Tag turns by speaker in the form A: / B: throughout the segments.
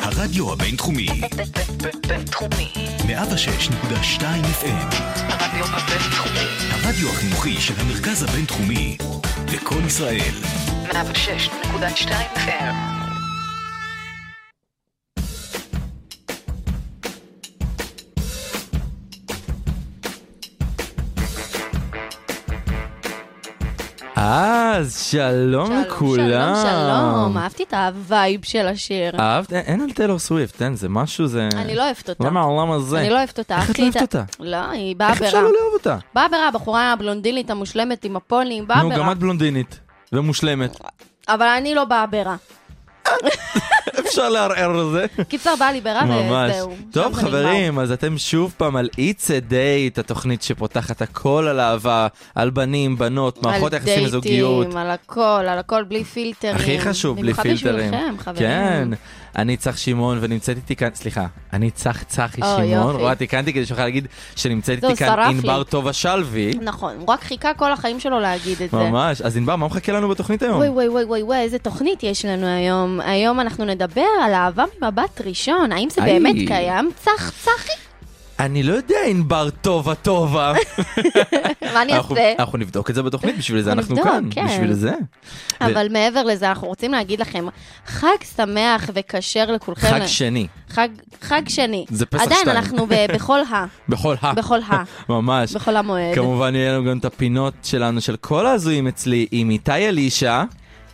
A: הרדיו הבינתחומי,
B: בינתחומי.
A: 106.2 FM,
B: הרדיו הבינתחומי.
A: הרדיו החינוכי של המרכז הבינתחומי, לקום ישראל,
B: 106.2 FM.
C: אז שלום לכולם.
D: שלום, שלום, אהבתי את הווייב של השיר.
C: אהבת? אין אין על טיילור סוויפט, אין, זה משהו, זה...
D: אני לא אוהבת אותה.
C: לא מהעולם הזה.
D: אני לא אוהבת אותה.
C: איך את
D: אהבתי
C: לא אוהבת אותה?
D: לא, היא באה
C: איך
D: ברע.
C: אפשר לא לאהוב אותה?
D: באה ברע, הבחורה הבלונדינית המושלמת עם הפונים, באה
C: נו, גם
D: ברע.
C: את בלונדינית. ומושלמת.
D: אבל אני לא באה ברע.
C: אפשר לערער על זה.
D: קיצר, באה לי ברע
C: ממש.
D: וזהו.
C: טוב,
D: עכשיו זה נגמר.
C: חברים, אז אתם שוב פעם על It's a Date, התוכנית שפותחת הכל על אהבה, על בנים, בנות, מערכות
D: על
C: יחסים וזוגיות.
D: דייטים, על הכל, על הכל, בלי פילטרים.
C: הכי חשוב, בלי פילטרים.
D: במיוחד בשבילכם, חברים.
C: כן. אני צח שמעון, ונמצאת איתי כאן, סליחה, אני צח צחי
D: או,
C: שמעון,
D: יופי.
C: רואה, תיקנתי כדי שאוכל להגיד שנמצאת
D: זהו,
C: איתי כאן
D: שרף לי.
C: ענבר טובה שלוי.
D: נכון, הוא רק חיכה כל החיים שלו להגיד את זה.
C: ממש. אז ענבר, מה מחכה לנו בתוכנית היום?
D: וואי וואי וואי וואי וואי, איזה תוכנית יש לנו היום. היום אנחנו נדבר על אהבה ממבט ראשון. האם זה
C: איי.
D: באמת קיים? צח צחי,
C: אני לא יודע, ענבר טובה טובה.
D: מה אני
C: אנחנו-
D: אעשה?
C: אנחנו נבדוק את זה בתוכנית, בשביל זה אנחנו
D: נבדוק,
C: כאן.
D: כן.
C: בשביל זה. ו-
D: אבל מעבר לזה, אנחנו רוצים להגיד לכם, חג שמח וכשר לכולכם.
C: חג שני,
D: חג, חג שני.
C: זה פסח
D: עדיין
C: שתיים.
D: אנחנו ב- בכל ה,
C: בכל ה.
D: בכל ה,
C: ממש.
D: בכל המועד.
C: כמובן יהיה לנו גם את הפינות שלנו של כל ההזויים אצלי עם איתי אלישע,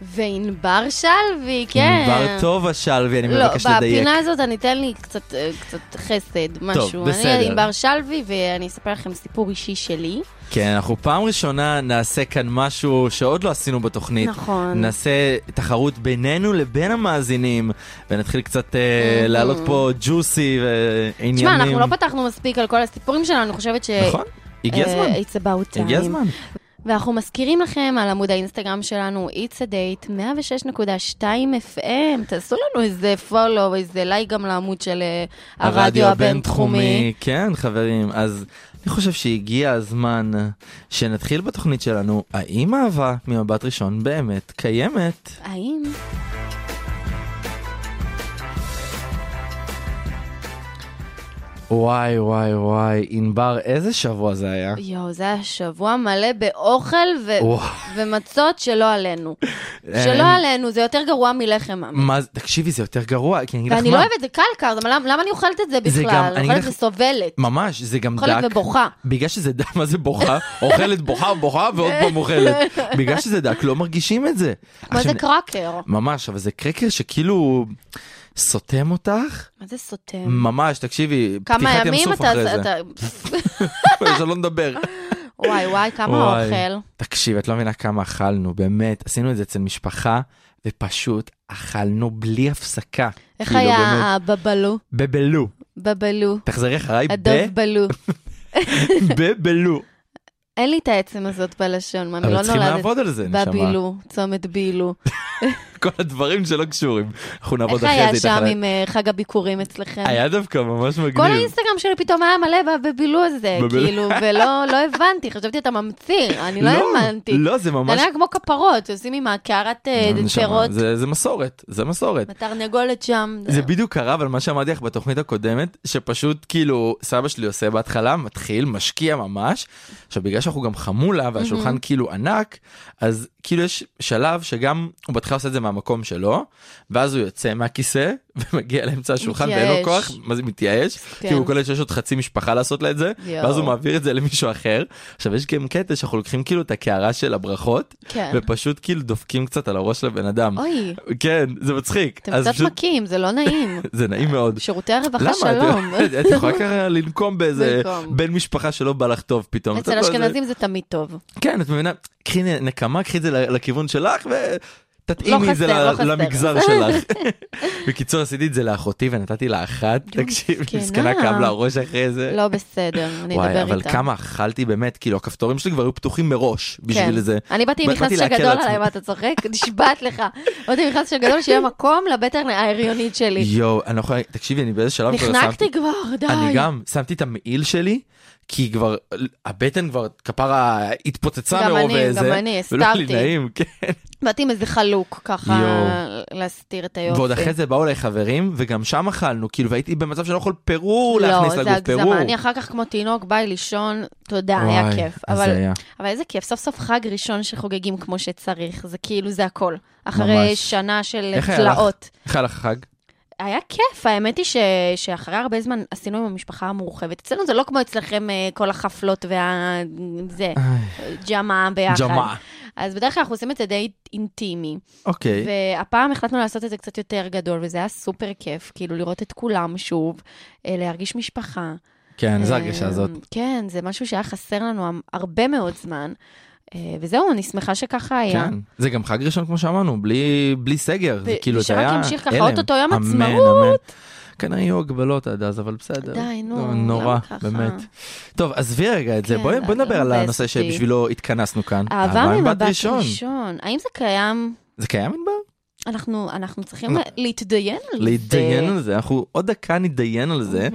D: וענבר שלוי, כן.
C: ענבר טובה שלוי, אני
D: לא,
C: מבקש לדייק.
D: בפינה הזאת אני אתן לי קצת, אה, קצת חסד, משהו.
C: בסדר.
D: אני ענבר שלוי ואני אספר לכם סיפור אישי שלי.
C: כן, אנחנו פעם ראשונה נעשה כאן משהו שעוד לא עשינו בתוכנית.
D: נכון.
C: נעשה תחרות בינינו לבין המאזינים, ונתחיל קצת אה, להעלות פה ג'וסי אה, ועניינים.
D: תשמע, אנחנו לא פתחנו מספיק על כל הסיפורים שלנו, אני חושבת ש...
C: נכון, הגיע
D: אה,
C: הזמן.
D: It's about time.
C: הגיע הזמן.
D: ואנחנו מזכירים לכם על עמוד האינסטגרם שלנו, It's a date 106.2 FM. תעשו לנו איזה follow, איזה לייק גם לעמוד של אה, הרדיו הבינתחומי.
C: כן, חברים, אז אני חושב שהגיע הזמן שנתחיל בתוכנית שלנו, האם אהבה ממבט ראשון באמת קיימת?
D: האם?
C: וואי, וואי, וואי, ענבר, איזה שבוע זה היה.
D: יואו, זה היה שבוע מלא באוכל ו-
C: וואי.
D: ומצות שלא עלינו. שלא
C: אה,
D: עלינו, זה יותר גרוע מלחם. מאמי.
C: מה זה, תקשיבי, זה יותר גרוע, כי אני אגיד לך מה.
D: ואני לא אוהבת, זה קלקר, למה למה אני אוכלת את זה
C: זה גם-
D: בכלל?
C: אני אגיד
D: אוכלת
C: לך-
D: וסובלת.
C: ממש, זה גם
D: אוכלת
C: דק.
D: ובוכה.
C: בגלל שזה דק, מה זה בוכה? אוכלת, בוכה, בוכה ועוד פעם אוכלת. בגלל שזה דק, לא מרגישים את זה.
D: מה זה
C: עכשיו,
D: קרקר?
C: ממש, אבל זה קרקר שכאילו סותם אותך.
D: מה זה סותם?
C: ממש, תקשיבי,
D: Mm. כמה
C: פתיחת ים
D: ימים
C: סוף
D: אתה...
C: אחרי זה.
D: אתה-
C: שלא נדבר.
D: וואי וואי, כמה
C: וואי.
D: אוכל.
C: תקשיב, את לא מבינה כמה אכלנו, באמת, עשינו את זה אצל משפחה, ופשוט אכלנו בלי הפסקה.
D: איך
C: כאילו,
D: היה
C: באמת.
D: הבבלו?
C: בבלו.
D: בבלו.
C: תחזרי אחריי,
D: הדוב בלו.
C: ב- בבלו.
D: אין לי את העצם הזאת בלשון, מה, אני
C: אבל
D: לא
C: צריכים
D: נולדת.
C: לעבוד על זה, נשמה.
D: בבילו, צומת בילו.
C: כל הדברים שלא קשורים. אנחנו נעבוד
D: איך
C: אחרי זה
D: היה
C: איתך
D: שם
C: על ה-
D: עם אה, חג הביקורים אצלכם?
C: היה דווקא ממש
D: כל
C: מגניב.
D: האינסטגרם שלי פתאום היה מלא בבילו הזה,
C: בבילו.
D: כאילו, ולא לא הבנתי, חשבתי אתה ממציא, אני לא האמנתי.
C: לא, זה
D: זה
C: ממש...
D: היה כמו כפרות, עושים עם הקערת אה,
C: נשמה,
D: פירות,
C: זה זה מסורת, זה מסורת.
D: התרנגולת שם.
C: זה בדיוק קרה, אבל מה שאמרתי לך בתוכנית הקודמת, שפשוט כאילו סבא שלי עושה בהתחלה, מתחיל, משקיע ממש. עכשיו, בגלל שאנחנו גם חמולה והשולחן
D: Mhm.
C: כאילו ענק, אז כאילו יש שלב שגם הוא בהתחלה עושה את זה מהמקום שלו, ואז הוא יוצא מהכיסא ומגיע לאמצע השולחן ואין לו
D: מתייאש.
C: כוח, מה זה מתייאש?
D: כן.
C: כי הוא קולט שיש עוד חצי משפחה לעשות לה את זה,
D: יואו.
C: ואז הוא מעביר את זה למישהו אחר. עכשיו, יש גם קטע שאנחנו לוקחים כאילו את הקערה של הברכות,
D: כן.
C: ופשוט כאילו דופקים קצת על הראש לבן אדם.
D: אוי,
C: כן, זה מצחיק.
D: אתם
C: אז
D: קצת
C: פשוט-
D: מכים, זה לא נעים.
C: זה נעים מאוד.
D: שירותי הרווחה
C: למה?
D: שלום.
C: את- את יכולה ככה לנקום באיזה
D: לנקום.
C: בן משפחה שלא בא לך טוב פתאום. אתה
D: אצל
C: לא- זה-
D: אשכנזים זה תמיד טוב.
C: כן, את מבינה? קחי נ- נקמה, קחי את זה ל- לכיוון שלך ותתאימי
D: לא
C: את זה
D: חסר,
C: ל-
D: לא חסר.
C: למגזר שלך. בקיצור, עשיתי את זה לאחותי ונתתי לה אחת.
D: יואו,
C: תקשיב,
D: מסכנה.
C: מסכנה כאב לה הראש אחרי זה.
D: לא בסדר, אני
C: וואי,
D: אדבר
C: אבל
D: איתם.
C: כמה אכלתי באמת, כאילו הכפתורים שלי כבר היו פתוחים מראש בשביל
D: כן.
C: זה.
D: אני באתי עם
C: בא-
D: מכנס
C: באתי להקל
D: שגדול
C: על עצמי.
D: עליי, מה אתה צוחק? נשבעת לך. באתי עם מכנס שגדול שיהיה מקום לבטן ההריונית שלי.
C: יואו, אני לא יכולה, תקשיבי, אני באיזה שלב כבר שמתי-
D: נחנקתי כבר, די.
C: אני גם שמתי את המעיל שלי, כי כבר, הבטן כבר, כפרה, התפוצצה
D: גם
C: מרוב
D: אני,
C: איזה.
D: גם אני,
C: ולא היה לי
D: הסתרתי.
C: נעים, כן.
D: באתי עם איזה חלוק, ככה,
C: יואו.
D: להסתיר את היופי.
C: ועוד אחרי זה באו אליי חברים, וגם שם אכלנו, כאילו, והייתי במצב שאני לא יכול פירור להכניס
D: לא, זה
C: לגוף, פירור.
D: הגזמה. אני אחר כך כמו תינוק, באי לישון, תודה, היה
C: וואי,
D: כיף.
C: אז
D: אבל
C: זה היה.
D: אבל איזה כיף, סוף סוף חג ראשון שחוגגים כמו שצריך, זה כאילו זה הכל. אחרי
C: ממש.
D: שנה של
C: איך היה לך?
D: תלאות.
C: איך היה לך חג?
D: היה כיף, האמת היא ש... שאחרי הרבה זמן עשינו עם המשפחה המורחבת. אצלנו זה לא כמו אצלכם אה, כל החפלות וה... זה, ג'מה ביחד.
C: ג'מה.
D: אז בדרך כלל אנחנו עושים את זה די אינטימי.
C: אוקיי.
D: והפעם החלטנו לעשות את זה קצת יותר גדול, וזה היה סופר כיף, כאילו לראות את כולם שוב, אה, להרגיש משפחה.
C: כן, זו
D: אה,
C: הרגשה הזאת.
D: כן, זה משהו שהיה חסר לנו המ- הרבה מאוד זמן. אה, וזהו, אני שמחה שככה היה.
C: כן. זה גם חג ראשון, כמו שאמרנו, בלי, בלי סגר. זה
D: ו-
C: כאילו, זה
D: ושרק
C: היה
D: ימשיך ככה,
C: הלם.
D: אוטוטו יום
C: אמן,
D: עצמאות.
C: אמן. כנראה יהיו הגבלות עד אז, אבל בסדר.
D: די, נו,
C: זה
D: למה
C: נורא,
D: ככה?
C: באמת. טוב, עזבי רגע את זה,
D: כן,
C: בואי בואי
D: לא
C: נדבר על
D: מבאס
C: הנושא
D: אותי.
C: שבשבילו התכנסנו כאן.
D: אהבה ממבט ראשון. ראשון. האם זה קיים?
C: זה קיים מדבר?
D: אנחנו, אנחנו צריכים
C: לא.
D: להתדיין על זה.
C: להתדיין על זה, אנחנו עוד דקה נתדיין על זה.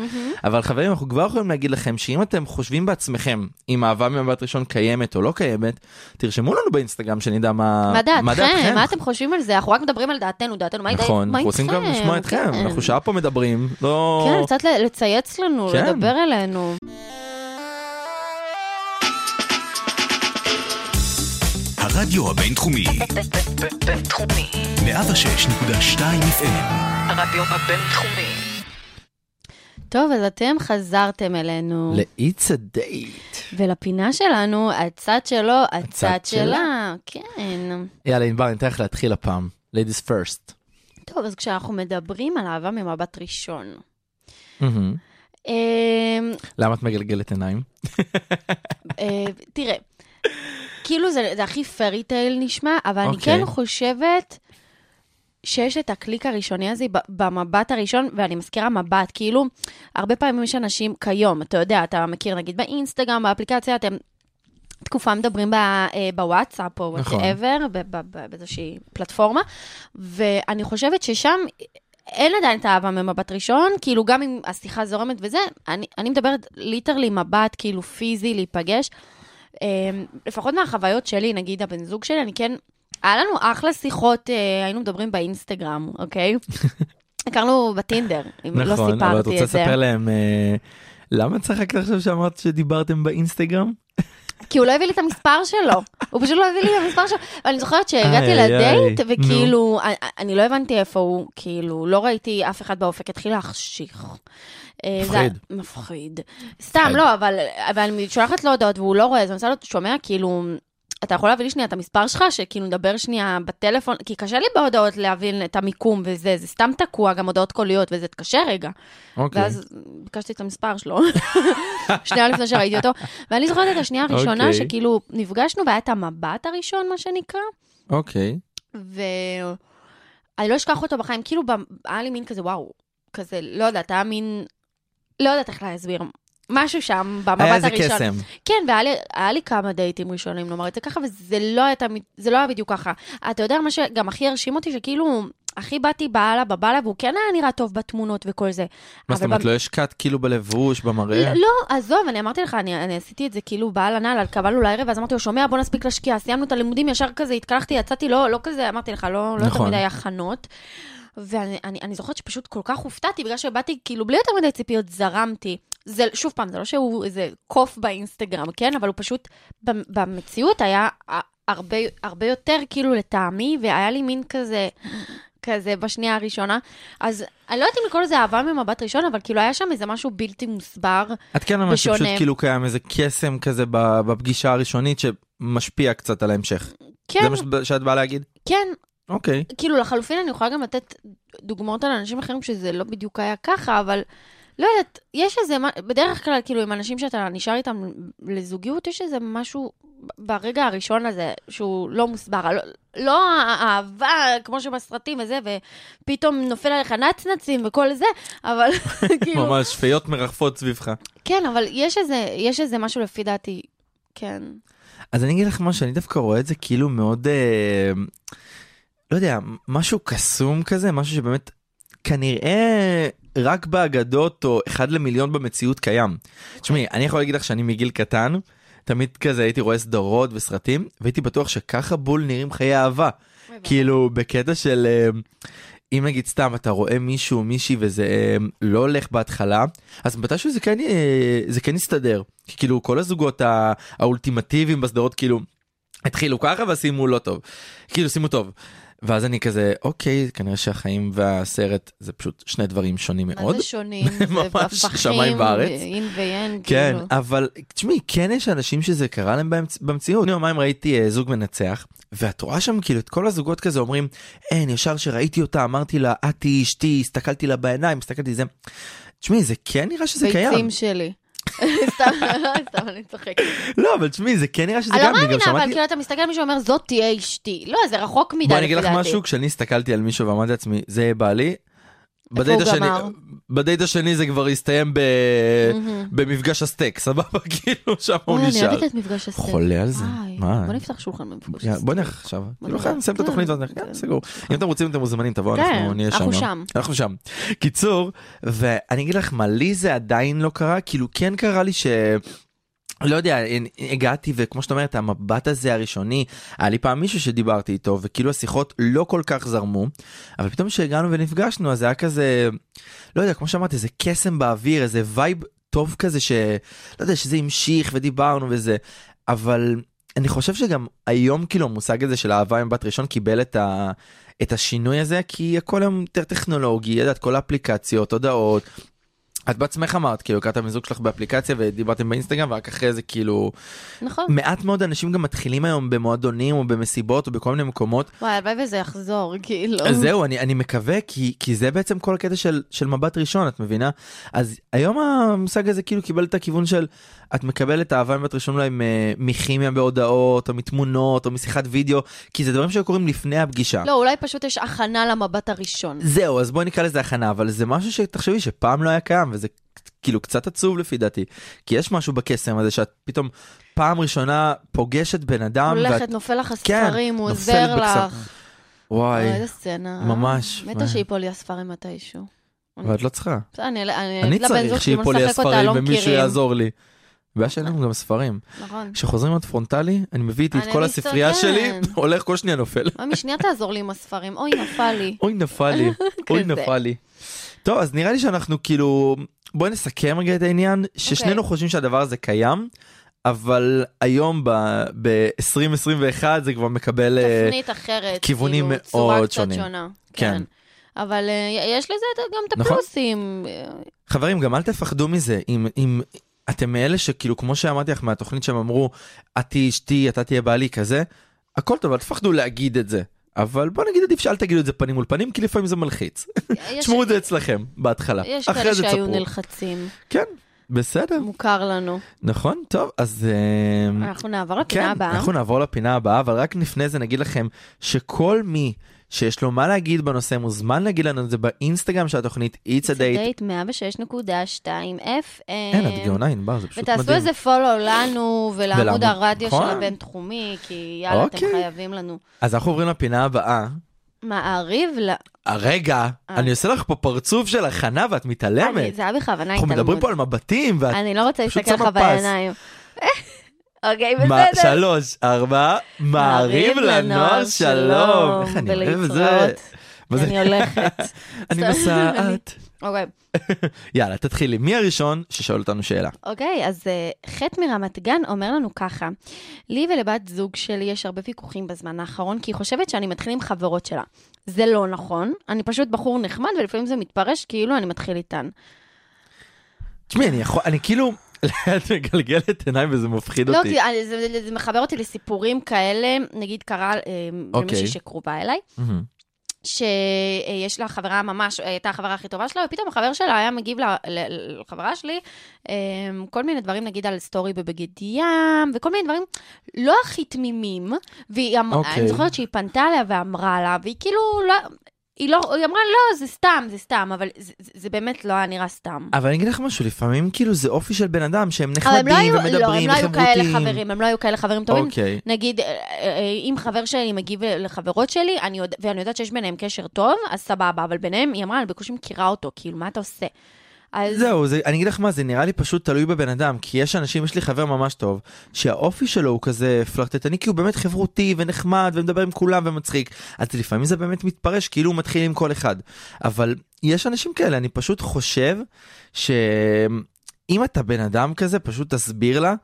C: אבל חברים, אנחנו כבר יכולים להגיד לכם שאם אתם חושבים בעצמכם אם אהבה ממבט ראשון קיימת או לא קיימת, תרשמו לנו באינסטגרם שנדע אה, מה
D: מה דעתכם? מה אתם חושבים על זה? אנחנו רק מדברים על דעתנו, דעתנו, מה איתכם?
C: נכון, אנחנו רוצים גם לשמוע אתכם,
D: כן.
C: אנחנו שעה פה מדברים, לא...
D: כן, קצת ל- לצייץ לנו,
C: כן.
D: לדבר אלינו.
A: הרדיו הבינתחומי,
B: בינתחומי,
A: 106.2 FM,
B: הרדיו הבינתחומי.
D: טוב, אז אתם חזרתם אלינו.
C: ל-It's a date.
D: ולפינה שלנו, הצד שלו, הצד
C: הצד שלה.
D: שלה. כן.
C: יאללה, ענבר, אני אתן לך להתחיל הפעם. Ladies first.
D: טוב, אז כשאנחנו מדברים על אהבה ממבט ראשון.
C: מהמם.
D: אמ,
C: למה את מגלגלת עיניים?
D: אה, תראה, כאילו זה, זה הכי פרי טייל נשמע, אבל אני
C: אוקיי.
D: כן חושבת שיש את הקליק הראשוני הזה ב- במבט הראשון, ואני מזכירה מבט, כאילו, הרבה פעמים יש אנשים כיום, אתה יודע, אתה מכיר נגיד באינסטגרם, באפליקציה, אתם... תקופה מדברים ב, אה, בוואטסאפ או
C: נכון.
D: וואטאבר, ב- ב- ב- באיזושהי פלטפורמה, ואני חושבת ששם אין עדיין את האהבה ממבט ראשון, כאילו גם אם השיחה זורמת וזה, אני, אני מדברת ליטרלי מבט, כאילו פיזי, להיפגש. אמ, לפחות מהחוויות שלי, נגיד הבן זוג שלי, אני כן, היה לנו אחלה שיחות, אה, היינו מדברים באינסטגרם, אוקיי? הכרנו בטינדר, אם לא
C: נכון, אבל את
D: סיפרתי
C: רוצה
D: את זה.
C: לספר להם... אה, למה צחקת עכשיו שאמרת שדיברתם באינסטגרם?
D: כי הוא לא הביא לי את המספר שלו, הוא פשוט לא הביא לי את המספר שלו. אני זוכרת שהגעתי
C: איי,
D: לדייט,
C: איי,
D: וכאילו, אני- אני לא הבנתי איפה הוא, כאילו, לא ראיתי אף אחד באופק, התחיל להחשיך. אה, זה-
C: מפחיד.
D: מפחיד. סתם, לא, אבל אבל אני שולחת לו הודעות והוא לא רואה, אז אני עושה לו, שומע, כאילו... אתה יכול להביא לי שנייה את המספר שלך, שכאילו נדבר שנייה בטלפון, כי קשה לי בהודעות להבין את המיקום וזה, זה סתם תקוע, גם הודעות קוליות וזה, קשה רגע.
C: אוקיי.
D: ואז ביקשתי את המספר שלו, שנייה לפני שראיתי אותו. ואני זוכרת את השנייה הראשונה,
C: אוקיי.
D: שכאילו נפגשנו, והיה את המבט הראשון, מה שנקרא,
C: אוקיי.
D: ו... אני לא אשכח אותו בחיים, כאילו ב- היה לי מין כזה, וואו, כזה, לא יודעת, היה מין, לא יודעת איך להסביר, משהו שם במבט הראשון.
C: היה אה, איזה קסם.
D: כן, והיה לי, היה לי כמה דייטים ראשונים, נאמר את זה ככה, וזה לא היה, תמיד, זה לא היה בדיוק ככה. אתה יודע מה שגם הכי הרשים אותי, שכאילו, הכי באתי בעלה בבעלה, והוא כן היה נראה טוב בתמונות וכל זה.
C: מה זאת
D: אבל
C: אומרת,
D: במ-
C: לא השקעת כאילו בלבוש, במראה?
D: לא, עזוב, אני אמרתי לך, אני, אני עשיתי את זה כאילו בעל הנעל, על קבלנו לערב, ואז אמרתי לו, שומע, בוא נספיק להשקיע, סיימנו את הלימודים, ישר כזה התקלחתי, יצאתי, לא, לא כזה, אמרתי לך, לא, לא
C: נכון.
D: יותר מדי הכנות. ואני אני, אני זוכרת שפשוט כל כך הופתעתי, בגלל שבאתי, כאילו, בלי יותר מדי ציפיות, זרמתי. זה, שוב פעם, זה לא שהוא איזה קוף באינסטגרם, כן? אבל הוא פשוט, במ- במציאות היה ה- הרבה, הרבה יותר, כאילו, לטעמי, והיה לי מין כזה, כזה בשנייה הראשונה. אז אני לא יודעת אם לקרוא לזה אהבה ממבט ראשון, אבל כאילו, היה שם איזה משהו בלתי מוסבר.
C: את כן אמרת שפשוט
D: בשונה.
C: כאילו קיים איזה קסם כזה ב- בפגישה הראשונית שמשפיע קצת על ההמשך. זה
D: כן,
C: מה שאת- שאת באה להגיד?
D: כן,
C: אוקיי.
D: כאילו לחלופין אני יכולה גם לתת דוגמאות על אנשים אחרים שזה לא בדיוק היה ככה, אבל לא יודעת, יש איזה, מה- בדרך כלל כאילו עם אנשים שאתה נשאר איתם לזוגיות, יש איזה משהו ב- ברגע הראשון הזה שהוא לא מוסבר, לא, לא האהבה כמו שבסרטים וזה, ופתאום נופל עליך נצנצים וכל זה, אבל כאילו,
C: ממש פיות מרחפות סביבך.
D: כן, אבל יש איזה, יש איזה משהו לפי דעתי, כן.
C: אז אני אגיד לך משהו, אני דווקא רואה את זה כאילו מאוד, אה, לא יודע, משהו קסום כזה, משהו שבאמת, כנראה רק באגדות או אחד למיליון במציאות קיים. תשמעי, אני יכול להגיד לך שאני מגיל קטן, תמיד כזה הייתי רואה סדרות וסרטים, והייתי בטוח שככה בול נראים חיי אהבה. כאילו, בקטע של... אה, אם נגיד סתם אתה רואה מישהו או מישהי וזה אה, לא הולך בהתחלה, אז מתישהו זה כן, אה, זה כן יסתדר. כי כאילו כל הזוגות הא- האולטימטיביים בסדרות כאילו התחילו ככה ושימו לא טוב. כאילו שימו טוב. ואז אני כזה אוקיי כנראה שהחיים והסרט זה פשוט שני דברים שונים מאוד.
D: מה זה שונים?
C: ממש,
D: זה הפכים,
C: שמיים וארץ.
D: אין ואין,
C: כן,
D: כאילו.
C: אבל תשמעי, כן יש אנשים שזה קרה להם באמצ... במציאות. לפני יומיים ראיתי אה, זוג מנצח, ואת רואה שם כאילו את כל הזוגות כזה אומרים, אין, ישר שראיתי אותה, אמרתי לה, את תהיי אשתי, הסתכלתי לה בעיניים, הסתכלתי זה. תשמעי, זה כן נראה שזה קיים.
D: ביצים שלי. סתם, סתם, אני צוחקת.
C: לא, אבל תשמעי, זה כן נראה שזה
D: אני
C: קיים.
D: לא
C: אני גם
D: מאמינה, אבל
C: שמעתי-
D: כאילו אתה מסתכל על מישהו ואומר, זאת תהיה אשתי. לא, זה רחוק מדי. אה,
C: בוא אני אגיד לך
D: לפי דעתי.
C: משהו, כשאני הסתכלתי על מישהו ואמרתי לעצמי, זה בעלי, בדייט
D: הוא
C: השני,
D: גמר?
C: בדייט השני זה כבר הסתיים ב... במפגש הסטייק, סבבה? כאילו, שם הוא
D: אוי, אני
C: נשאר.
D: אוהבת את מפגש הסרט.
C: חולה על זה,
D: וואי,
C: מה?
D: בוא נפתח שולחן במפגש
C: יא,
D: הסרט.
C: בוא נלך עכשיו, כאילו
D: נלך.
C: אחרי נסיים את התוכנית ואז נלך,
D: כן,
C: כן, סגור. אם אתם רוצים אתם מוזמנים תבואו,
D: כן,
C: אנחנו נהיה שם.
D: אנחנו שם.
C: אנחנו שם. קיצור, ואני אגיד לך מה, לי זה עדיין לא קרה, כאילו כן קרה לי ש... לא יודע, הגעתי וכמו שאת אומרת, המבט הזה הראשוני, היה לי פעם מישהו שדיברתי איתו וכאילו השיחות לא כל כך זרמו, אבל פתאום כשהגענו ונפגשנו אז זה היה כזה, לא יודע, כמו שאמרתי, איזה קסם באוויר, איזה וייב טוב כזה ש... לא יודע, שזה המשיך ודיברנו וזה, אבל אני חושב שגם היום כאילו המושג הזה של אהבה עם בת ראשון קיבל את, ה... את השינוי הזה, כי הכל היום יותר טכנולוגי, את יודעת, כל האפליקציות, הודעות. את בעצמך אמרת, כאילו, הכרת מזוג שלך באפליקציה ודיברתם באינסטגרם, ורק אחרי זה כאילו...
D: נכון.
C: מעט מאוד אנשים גם מתחילים היום במועדונים או במסיבות או בכל מיני מקומות.
D: וואי, הלוואי וזה יחזור, כאילו.
C: אז זהו, אני, אני מקווה, כי, כי זה בעצם כל הקטע של, של מבט ראשון, את מבינה? אז היום המושג הזה כאילו קיבל את הכיוון של, את מקבלת אהבה מבט ראשון אולי מ- מכימיה בהודעות, או מתמונות, או משיחת וידאו, כי זה דברים שקורים לפני הפגישה.
D: לא, אולי פשוט יש הכנה למבט הראשון.
C: זהו, אז בואי נקרא לזה הכנה, אבל זה משהו שתחשבי שפעם לא היה קיים, וזה כאילו קצת עצוב לפי דעתי, כי יש משהו בקסם הזה שאת פתאום פעם ראשונה פוגשת בן אדם,
D: הולכת,
C: ואת...
D: נופל לך
C: כן,
D: הספרים, הוא
C: נופלת
D: עוזר
C: בקסם.
D: לך.
C: וואי,
D: אוי, איזה סצנה. אה?
C: ממש.
D: מתה שיפול לי הספרים מתישהו.
C: ואת לא צריכה.
D: בסדר, אני אני
C: אני
D: אגיד אה, לבן זוג
C: צריך
D: שלי, בוא
C: שיפול לי
D: נשחק אותה,
C: הספרים
D: לא
C: ומישהו
D: מכירים.
C: יעזור לי. הבעיה שאין לנו גם ספרים.
D: נכון.
C: כשחוזרים עוד פרונטלי, אני מביא איתי את
D: אני
C: כל הספרייה שלי,
D: מסתכן.
C: הולך כל שנייה נופל.
D: ממי, שנייה תעזור לי עם הספרים. אוי, נפל לי.
C: אוי נפל לי, אוי
D: כזה.
C: נפל לי. טוב, אז נראה לי שאנחנו כאילו, בואי נסכם רגע את העניין,
D: אוקיי.
C: ששנינו חושבים שהדבר הזה קיים, אבל היום ב-2021 זה כבר מקבל... אה,
D: תפנית אחרת.
C: כיוונים
D: כאילו, צורה
C: מאוד
D: קצת
C: שונים.
D: שונה.
C: כן.
D: כן. אבל אה, יש לזה גם את
C: נכון.
D: הפלוסים. אה,
C: חברים, גם אל תפחדו מזה. אם, אם אתם מאלה שכאילו, כמו שאמרתי לך מהתוכנית שהם אמרו, את תהיי אשתי, אתה תהיה בעלי כזה, הכל טוב, אל תפחדו להגיד את זה. אבל בוא נגיד עדיף שאל תגידו את זה פנים מול פנים, כי לפעמים זה מלחיץ.
D: יש-
C: תשמעו את זה אצלכם, בהתחלה.
D: יש
C: אחרי
D: כאלה
C: זה
D: שהיו
C: תספרו.
D: נלחצים,
C: כן, בסדר,
D: מוכר לנו.
C: נכון, טוב, אז... אה,
D: אנחנו נעבור
C: כן,
D: לפינה הבאה.
C: אנחנו נעבור לפינה הבאה, אבל רק לפני זה נגיד לכם שכל מי שיש לו מה להגיד בנושא מוזמן להגיד לנו את זה באינסטגרם של התוכנית It's a Date.
D: דייט 106.2 FM.
C: אין, את גאונה ענבר, זה פשוט מדהים.
D: כן. ותעשו איזה פולו לנו
C: ולעמוד-
D: ולעמוד הרדיו
C: נכון.
D: של הבינתחומי, כי יאללה, אתם
C: אוקיי.
D: חייבים לנו. לא,
C: אז אנחנו עוברים לפינה הבאה.
D: מעריב ל...
C: הרגע, אני עושה לך פה פרצוף של הכנה ואת
D: אה. אני-
C: מתעלמת.
D: זה היה בכוונה
C: אנחנו מדברים
D: התעלמות.
C: פה על מבטים ואת...
D: אני לא רוצה
C: פשוט
D: להסתכל לך
C: שמה פס.
D: בעיניים. אוקיי,
C: מה-
D: בסדר.
C: שלוש, ארבע, מעריב לנוער שלום. איך אני אוהב את זה.
D: ולהתראות.
C: מה זה?
D: אני הולכת.
C: אני
D: סתם.
C: מסעת.
D: אוקיי.
C: יאללה, תתחילי. מי הראשון ששואל אותנו שאלה?
D: אוקיי, אז אה, חטא מרמת גן אומר לנו ככה, לי ולבת זוג שלי יש הרבה ויכוחים בזמן האחרון, כי היא חושבת שאני מתחיל עם חברות שלה. זה לא נכון, אני פשוט בחור נחמד, ולפעמים זה מתפרש כאילו אני מתחיל איתן.
C: תשמעי, אני יכול, אני כאילו, את מגלגלת עיניים וזה מפחיד
D: לא,
C: אותי.
D: כי אני- זה, זה, זה מחבר אותי לסיפורים כאלה, נגיד קרה אה,
C: אוקיי.
D: למישהי שקרובה אליי,
C: מהמם.
D: שיש לה חברה ממש, הייתה החברה הכי טובה שלה, ופתאום החבר שלה היה מגיב ל- ל- לחברה שלי אה, כל מיני דברים, נגיד על סטורי בבגד ים, וכל מיני דברים לא הכי תמימים, והיא אמ-
C: אוקיי.
D: אני זוכרת שהיא פנתה אליה ואמרה לה, והיא כאילו לא... היא לא, היא אמרה, לא, זה סתם, זה סתם, אבל זה, זה, זה באמת לא היה נראה סתם.
C: אבל אני אגיד לך משהו, לפעמים כאילו זה אופי של בן אדם שהם
D: אבל הם לא
C: אה, נחמדים
D: היו, לא, הם
C: ומדברים
D: לא היו כאלה
C: וחברותיים.
D: חברים, הם לא היו כאלה חברים טובים.
C: אוקיי.
D: נגיד, אה, אה, אם חבר שלי מגיב לחברות שלי, אני יודע, ואני יודעת שיש ביניהם קשר טוב, אז סבבה, אבל ביניהם, היא אמרה, אני בקושי מכירה אותו, כאילו, מה אתה עושה? אז
C: זהו, זה, אני אגיד לך מה, זה נראה לי פשוט תלוי בבן אדם, כי יש אנשים, יש לי חבר ממש טוב, שהאופי שלו הוא כזה פלרטטני, כי הוא באמת חברותי ונחמד ומדבר עם כולם ומצחיק, אז לפעמים זה באמת מתפרש כאילו הוא מתחיל עם כל אחד, אבל יש אנשים כאלה, אני פשוט חושב שאם אתה בן אדם כזה, פשוט תסביר לה.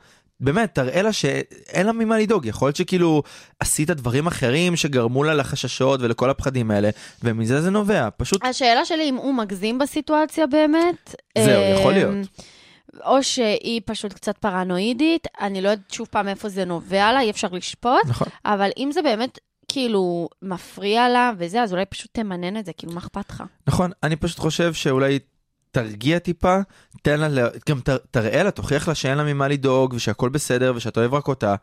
C: באמת, תראה לה שאין לה ממה לדאוג, יכול להיות שכאילו עשית דברים אחרים שגרמו לה לחששות ולכל הפחדים האלה, ומזה זה נובע, פשוט
D: השאלה שלי אם הוא מגזים בסיטואציה באמת.
C: זהו, יכול
D: אה,
C: להיות.
D: או שהיא פשוט קצת פרנואידית, אני לא יודעת שוב פעם איפה זה נובע לה, אי אפשר לשפוט,
C: נכון.
D: אבל אם זה באמת כאילו מפריע לה וזה, אז אולי פשוט תמנן את זה, כאילו, מה אכפת לך?
C: נכון, אני פשוט חושב שאולי תרגיע טיפה, תן לה, ל- גם ת, תראה לה, תוכיח לה שאין לה ממה לדאוג, ושהכול בסדר, ושאתה אוהב רק אותה.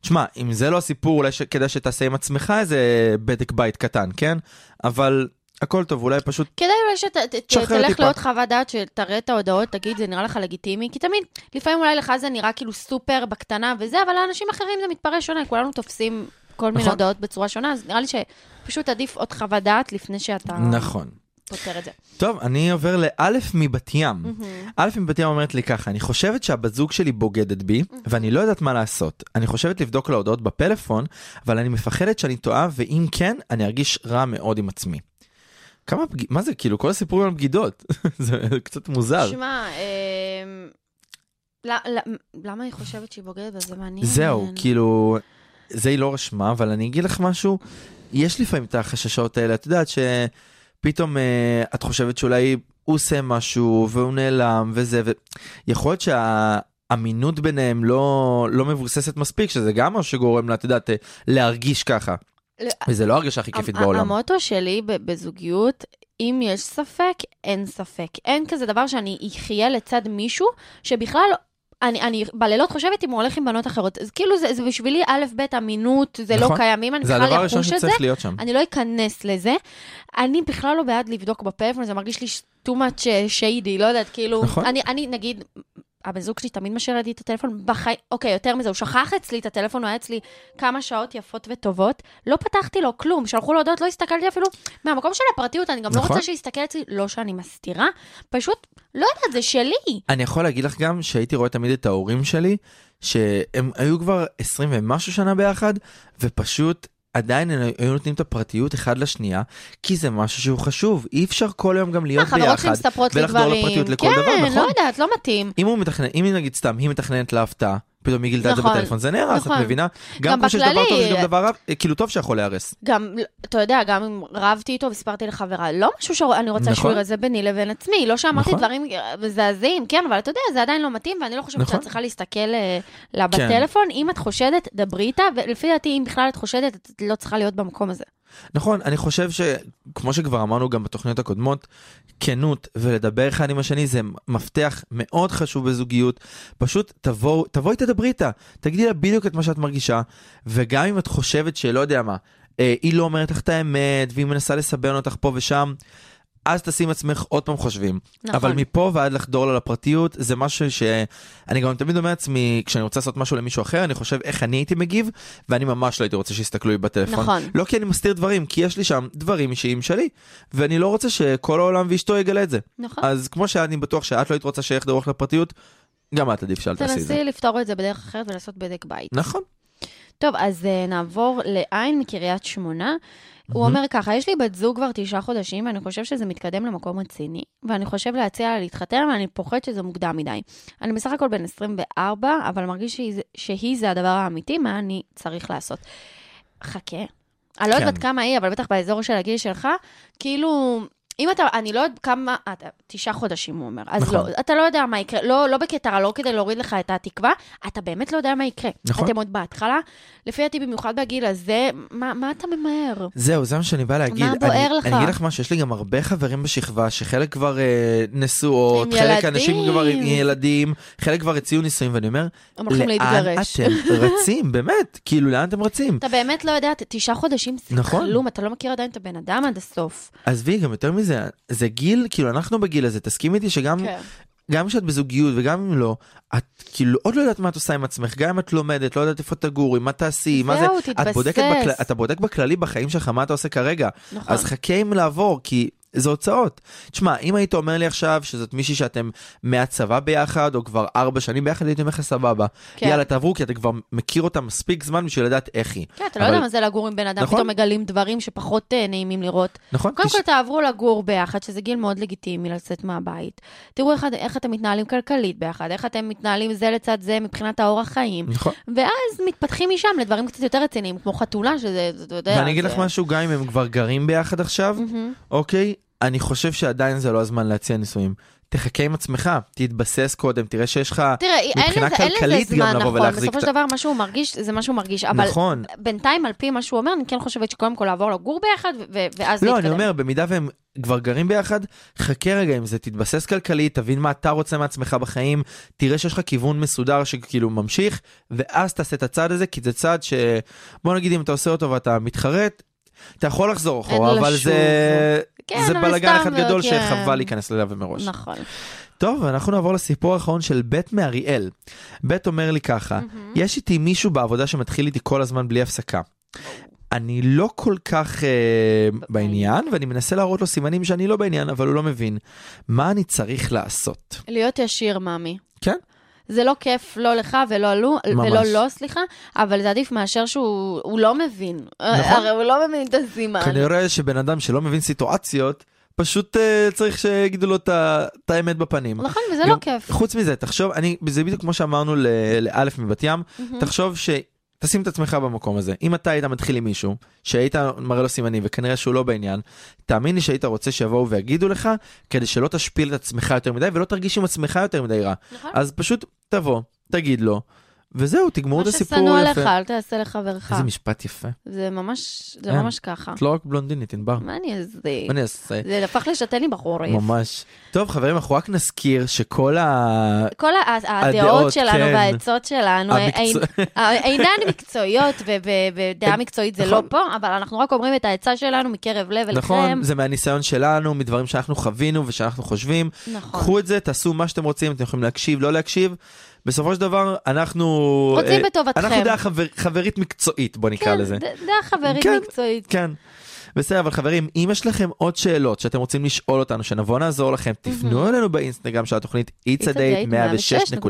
C: תשמע, אם זה לא הסיפור, אולי ש- כדאי שתעשה עם עצמך איזה בדק בית קטן, כן? אבל הכל טוב, אולי פשוט...
D: כדאי אולי שאתה ת- ת-
C: תשחרר
D: תלך
C: טיפה.
D: לעוד חוות דעת שתראה את ההודעות, תגיד, זה נראה לך לגיטימי? כי תמיד, לפעמים אולי לך זה נראה כאילו סופר בקטנה וזה, אבל לאנשים אחרים זה מתפרש שונה, כולנו תופסים כל מיני
C: נכון.
D: הודעות בצורה שונה, אז נראה לי שפשוט עדיף עוד חוות דעת לפני שאתה
C: נכון.
D: פותר את זה.
C: טוב, אני עובר לאלף מבת ים. אלף מבת ים אומרת לי ככה, אני חושבת שהבת זוג שלי בוגדת בי, ואני לא יודעת מה לעשות. אני חושבת לבדוק לה הודעות בפלאפון, אבל אני מפחדת שאני טועה, ואם כן, אני ארגיש רע מאוד עם עצמי. כמה פג... מה זה, כאילו, כל הסיפורים על בגידות. זה קצת מוזר.
D: שמע, אמ, ל- ל- למה היא חושבת שהיא בוגדת בזה? מעניין.
C: זהו, כאילו, זה היא לא רשמה, אבל אני אגיד לך משהו, יש לפעמים את החששות האלה, את יודעת שפתאום אה, את חושבת שאולי הוא עושה משהו והוא נעלם וזה, ויכול להיות שהאמינות ביניהם לא, לא מבוססת מספיק, שזה גם משהו שגורם לה, את יודעת, אה, להרגיש ככה,
D: ל-
C: וזה לא הרגשה הכי כיפית
D: המ-
C: בעולם.
D: המוטו שלי ב- בזוגיות, אם יש ספק, אין ספק. אין כזה דבר שאני אחיה לצד מישהו שבכלל... אני, אני בלילות חושבת אם הוא הולך עם בנות אחרות, אז כאילו זה, זה בשבילי א', ב', אמינות, זה לא
C: נכון.
D: קיימים, אני
C: זה
D: צריכה
C: הדבר הראשון
D: לחוש את זה,
C: שצריך להיות שם.
D: אני לא אכנס לזה. אני בכלל לא בעד לבדוק בפלאפון, זה מרגיש לי ש- too much שיידי, לא יודעת, כאילו,
C: נכון.
D: אני, אני נגיד, הבן זוג שלי תמיד משאיר לידי את הטלפון, בחיים, אוקיי, יותר מזה, הוא שכח אצלי את הטלפון, הוא היה אצלי כמה שעות יפות וטובות, לא פתחתי לו כלום, שלחו לו הודעות, לא הסתכלתי אפילו, מהמקום של הפרטיות, אני גם לא
C: נכון.
D: רוצה שיסתכל אצלי, לא שאני מסתירה, פשוט, לא יודעת, זה שלי.
C: אני יכול להגיד לך גם שהייתי רואה תמיד את ההורים שלי, שהם היו כבר 20 ומשהו שנה ביחד, ופשוט עדיין הם היו נותנים את הפרטיות אחד לשנייה, כי זה משהו שהוא חשוב, אי אפשר כל היום גם להיות
D: החברות שלי
C: ביחד.
D: מספרות לי
C: ולחדור
D: דברים.
C: לפרטיות לכל דבר,
D: כן, לא
C: נכון?
D: יודעת, לא מתאים.
C: אם הוא מתכנן, אם נגיד סתם, היא מתכננת להפתעה, פתאום היא גילתה את זה
D: נכון,
C: בטלפון, זה נהרס, את
D: נכון.
C: מבינה?
D: גם
C: גם כמו שיש דבר
D: בכללי-
C: טוב, יש גם דבר רע, כאילו טוב שיכול להיהרס.
D: גם, אתה יודע, גם אם רבתי איתו וסיפרתי לחברה, לא משהו שאני רוצה
C: נכון.
D: שהוא יראה זה ביני לבין עצמי, לא שאמרתי
C: נכון.
D: דברים מזעזעים, כן, אבל אתה יודע, זה עדיין לא מתאים, ואני לא חושבת
C: נכון.
D: שאת צריכה להסתכל אה, לה
C: כן.
D: בטלפון. אם את חושדת, דברי איתה, ולפי דעתי, אם בכלל את חושדת, את לא צריכה להיות במקום הזה.
C: נכון, אני חושב שכמו שכבר אמרנו גם בתוכניות הקודמות, כנות ולדבר אחד עם השני זה מפתח מאוד חשוב בזוגיות. פשוט תבואו, תבואי תדברי איתה, תגידי לה בדיוק את מה שאת מרגישה, וגם אם את חושבת שלא יודע מה, אה, היא לא אומרת לך את האמת, והיא מנסה לסבן אותך פה ושם, אז תשים עצמך עוד פעם חושבים.
D: נכון.
C: אבל מפה ועד לחדור לה לפרטיות, זה משהו שאני גם תמיד אומר לעצמי, כשאני רוצה לעשות משהו למישהו אחר, אני חושב איך אני הייתי מגיב, ואני ממש לא הייתי רוצה שיסתכלו לי בטלפון.
D: נכון.
C: לא כי אני מסתיר דברים, כי יש לי שם דברים אישיים שלי, ואני לא רוצה שכל העולם ואשתו יגלה את זה.
D: נכון.
C: אז כמו שאני בטוח שאת לא היית רוצה שיחדרו לך לפרטיות, גם את עדיף שאל תעשי את זה.
D: תנסי לפתור את זה בדרך אחרת ולעשות בדק בית.
C: נכון.
D: טוב, אז אה, נעבור לעין מקריית שמונה. הוא אומר ככה, יש לי בת זוג כבר תשעה חודשים, ואני חושב שזה מתקדם למקום רציני, ואני חושב להציע לה להתחתן, ואני פוחד שזה מוקדם מדי. אני בסך הכל בן 24, אבל מרגיש שהיא, זה- שהיא זה הדבר האמיתי, מה אני צריך לעשות. חכה. אני לא יודעת
C: כן.
D: בת כמה היא, אבל בטח באזור של הגיל שלך, כאילו, אם אתה, אני לא יודעת כמה, אה, תשעה חודשים הוא אומר, אז
C: נכון.
D: לא, אתה לא יודע מה יקרה, לא, לא בקטע, לא כדי להוריד לך את התקווה, אתה באמת לא יודע מה יקרה.
C: נכון.
D: אתם עוד בהתחלה, לפי דעתי במיוחד בגיל הזה, מה, מה אתה ממהר?
C: זהו, זה מה שאני בא להגיד.
D: מה בוער
C: אני,
D: לך?
C: אני אגיד לך משהו, יש לי גם הרבה חברים בשכבה שחלק כבר אה, נשואות,
D: עם
C: חלק אנשים
D: ילדים.
C: כבר עם ילדים, חלק כבר הציעו נישואים, ואני אומר,
D: הם הולכים
C: לאן
D: להתגרש.
C: אתם רצים? באמת, כאילו, לאן אתם רצים?
D: אתה באמת לא יודע, ת- תשעה חודשים זה
C: נכון.
D: כלום, אתה לא מכיר עדיין את הבן אדם עד הסוף.
C: עזבי, גם יותר מזה, זה גיל, כאילו, אנחנו בגיל הזה, תסכים איתי שגם
D: כן.
C: גם כשאת בזוגיות וגם אם לא, את כאילו עוד לא יודעת מה את עושה עם עצמך, גם אם את לומדת, לא יודעת איפה תגורי, מה תעשי, מה זה,
D: זהו,
C: את בודקת
D: תתבסס.
C: בכל- אתה בודק בכללי בחיים שלך מה אתה עושה כרגע,
D: נכון.
C: אז חכה עם לעבור, כי זה הוצאות. תשמע, אם היית אומר לי עכשיו שזאת מישהי שאתם מהצבא ביחד, או כבר ארבע שנים ביחד, הייתי אומר לך סבבה.
D: כן.
C: יאללה, תעברו, כי אתה כבר מכיר אותה מספיק זמן בשביל לדעת איך היא.
D: כן, אתה לא
C: אבל-
D: יודע מה זה לגור עם בן אדם,
C: נכון.
D: פתאום מגלים דברים שפחות אה, נעימים לראות.
C: נכון?
D: קודם
C: תש-
D: כל, תעברו לגור ביחד, שזה גיל מאוד לגיטימי לצאת מהבית. תראו איך, איך אתם מתנהלים כלכלית ביחד, איך אתם מתנהלים זה לצד זה מבחינת האורח חיים.
C: נכון.
D: ואז מתפתחים משם לדברים קצת יותר רציניים, כמו חתולה, שזה, זה- אתה יודע...
C: ואני אגיד
D: זה-
C: לך משהו, גם אם הם כבר גרים ביחד עכשיו,
D: מהמם.
C: אוקיי, אני חושב שעדיין זה לא הזמן להציע נישואים. תחכה עם עצמך, תתבסס קודם, תראה שיש לך...
D: תראה, אין
C: מבחינה
D: לזה, אין
C: כלכלית
D: לזה
C: גם
D: זמן,
C: לבוא
D: נכון,
C: ולהחזיק
D: בסופו
C: את
D: של דבר מה שהוא מרגיש, זה מה שהוא מרגיש, אבל
C: נכון.
D: בינתיים, על פי מה שהוא אומר, אני כן חושבת שקודם כל לעבור לגור ביחד, ו- ו- ואז
C: לא,
D: להתקדם.
C: אני אומר, במידה והם כבר גרים ביחד, חכה רגע עם זה, תתבסס כלכלית, תבין מה אתה רוצה מעצמך בחיים, תראה שיש לך כיוון מסודר שכאילו ממשיך, ואז תעשה את הצעד הזה, כי זה צעד ש... בוא נגיד אם אתה עושה אותו ואתה מתחרט, אתה יכול לחזור אחורה, אבל
D: לשוב.
C: זה...
D: כן,
C: זה
D: אבל
C: בלאגן
D: סתם,
C: אחד גדול
D: כן.
C: שחבל להיכנס אליו ומראש.
D: נכון.
C: טוב, אנחנו נעבור לסיפור האחרון של בית מאריאל. בית אומר לי ככה,
D: Mm-hmm.
C: יש איתי מישהו בעבודה שמתחיל איתי כל הזמן בלי הפסקה. אני לא כל כך אה,
D: אוקיי.
C: בעניין, ואני מנסה להראות לו סימנים שאני לא בעניין, אבל הוא לא מבין. מה אני צריך לעשות?
D: להיות ישיר, מאמי.
C: כן?
D: זה לא כיף, לא לך ולא לו,
C: ממש.
D: ולא לו, סליחה, אבל זה עדיף מאשר שהוא הוא לא מבין.
C: נכון.
D: הרי הוא לא מבין את הסימן.
C: כנראה שבן אדם שלא מבין סיטואציות, פשוט אה, צריך שיגידו לו את ה- את האמת בפנים.
D: נכון, וזה לא
C: גם-
D: כיף.
C: חוץ מזה, תחשוב, אני, זה בדיוק כמו שאמרנו ל- לאלף מבת ים,
D: Mm-hmm.
C: תחשוב ש... תשים את עצמך במקום הזה. אם אתה היית מתחיל עם מישהו, שהיית מראה לו סימנים וכנראה שהוא לא בעניין, תאמין לי שהיית רוצה שיבואו ויגידו לך, כדי שלא תשפיל את עצמך יותר מדי ולא תרגיש עם עצמך יותר מדי רע.
D: נכון.
C: אז פשוט תבוא, תגיד לו, וזהו, תגמרו
D: מה
C: את הסיפור
D: ששנוא עליך, אה.
C: יפה.
D: אל תעשה לחברך.
C: איזה משפט יפה.
D: זה ממש, זה
C: כן.
D: ממש ככה.
C: את לא רק בלונדינית, ענבר. מה
D: מה אני אעשה?
C: אני אעשה?
D: זה הפך לשתן לי בחורף.
C: ממש. טוב, חברים, אנחנו רק נזכיר שכל ה...
D: כל ה- ה-
C: הדעות,
D: הדעות שלנו
C: כן.
D: והעצות שלנו
C: המקצוע-
D: אין- אה, אינן מקצועיות, ו- ו- ודעה
C: אין-
D: מקצועית זה
C: נכון.
D: לא פה, אבל אנחנו רק אומרים את העצה שלנו מקרב לב אליכם.
C: נכון, זה מהניסיון שלנו, מדברים שאנחנו חווינו ושאנחנו חושבים.
D: נכון.
C: קחו את זה, תעשו מה שאתם רוצים, אתם יכולים להקשיב, לא להקשיב. בסופו של דבר, אנחנו...
D: רוצים
C: אה,
D: בטובתכם.
C: אנחנו דעה חבר, חברית מקצועית, בוא נקרא
D: כן,
C: לזה.
D: ד- דעה חברית
C: כן.
D: מקצועית.
C: כן. בסדר, אבל חברים, אם יש לכם עוד שאלות שאתם רוצים לשאול אותנו, שנבוא נעזור לכם, תפנו אלינו באינסטגרם של התוכנית It's a Date 106.2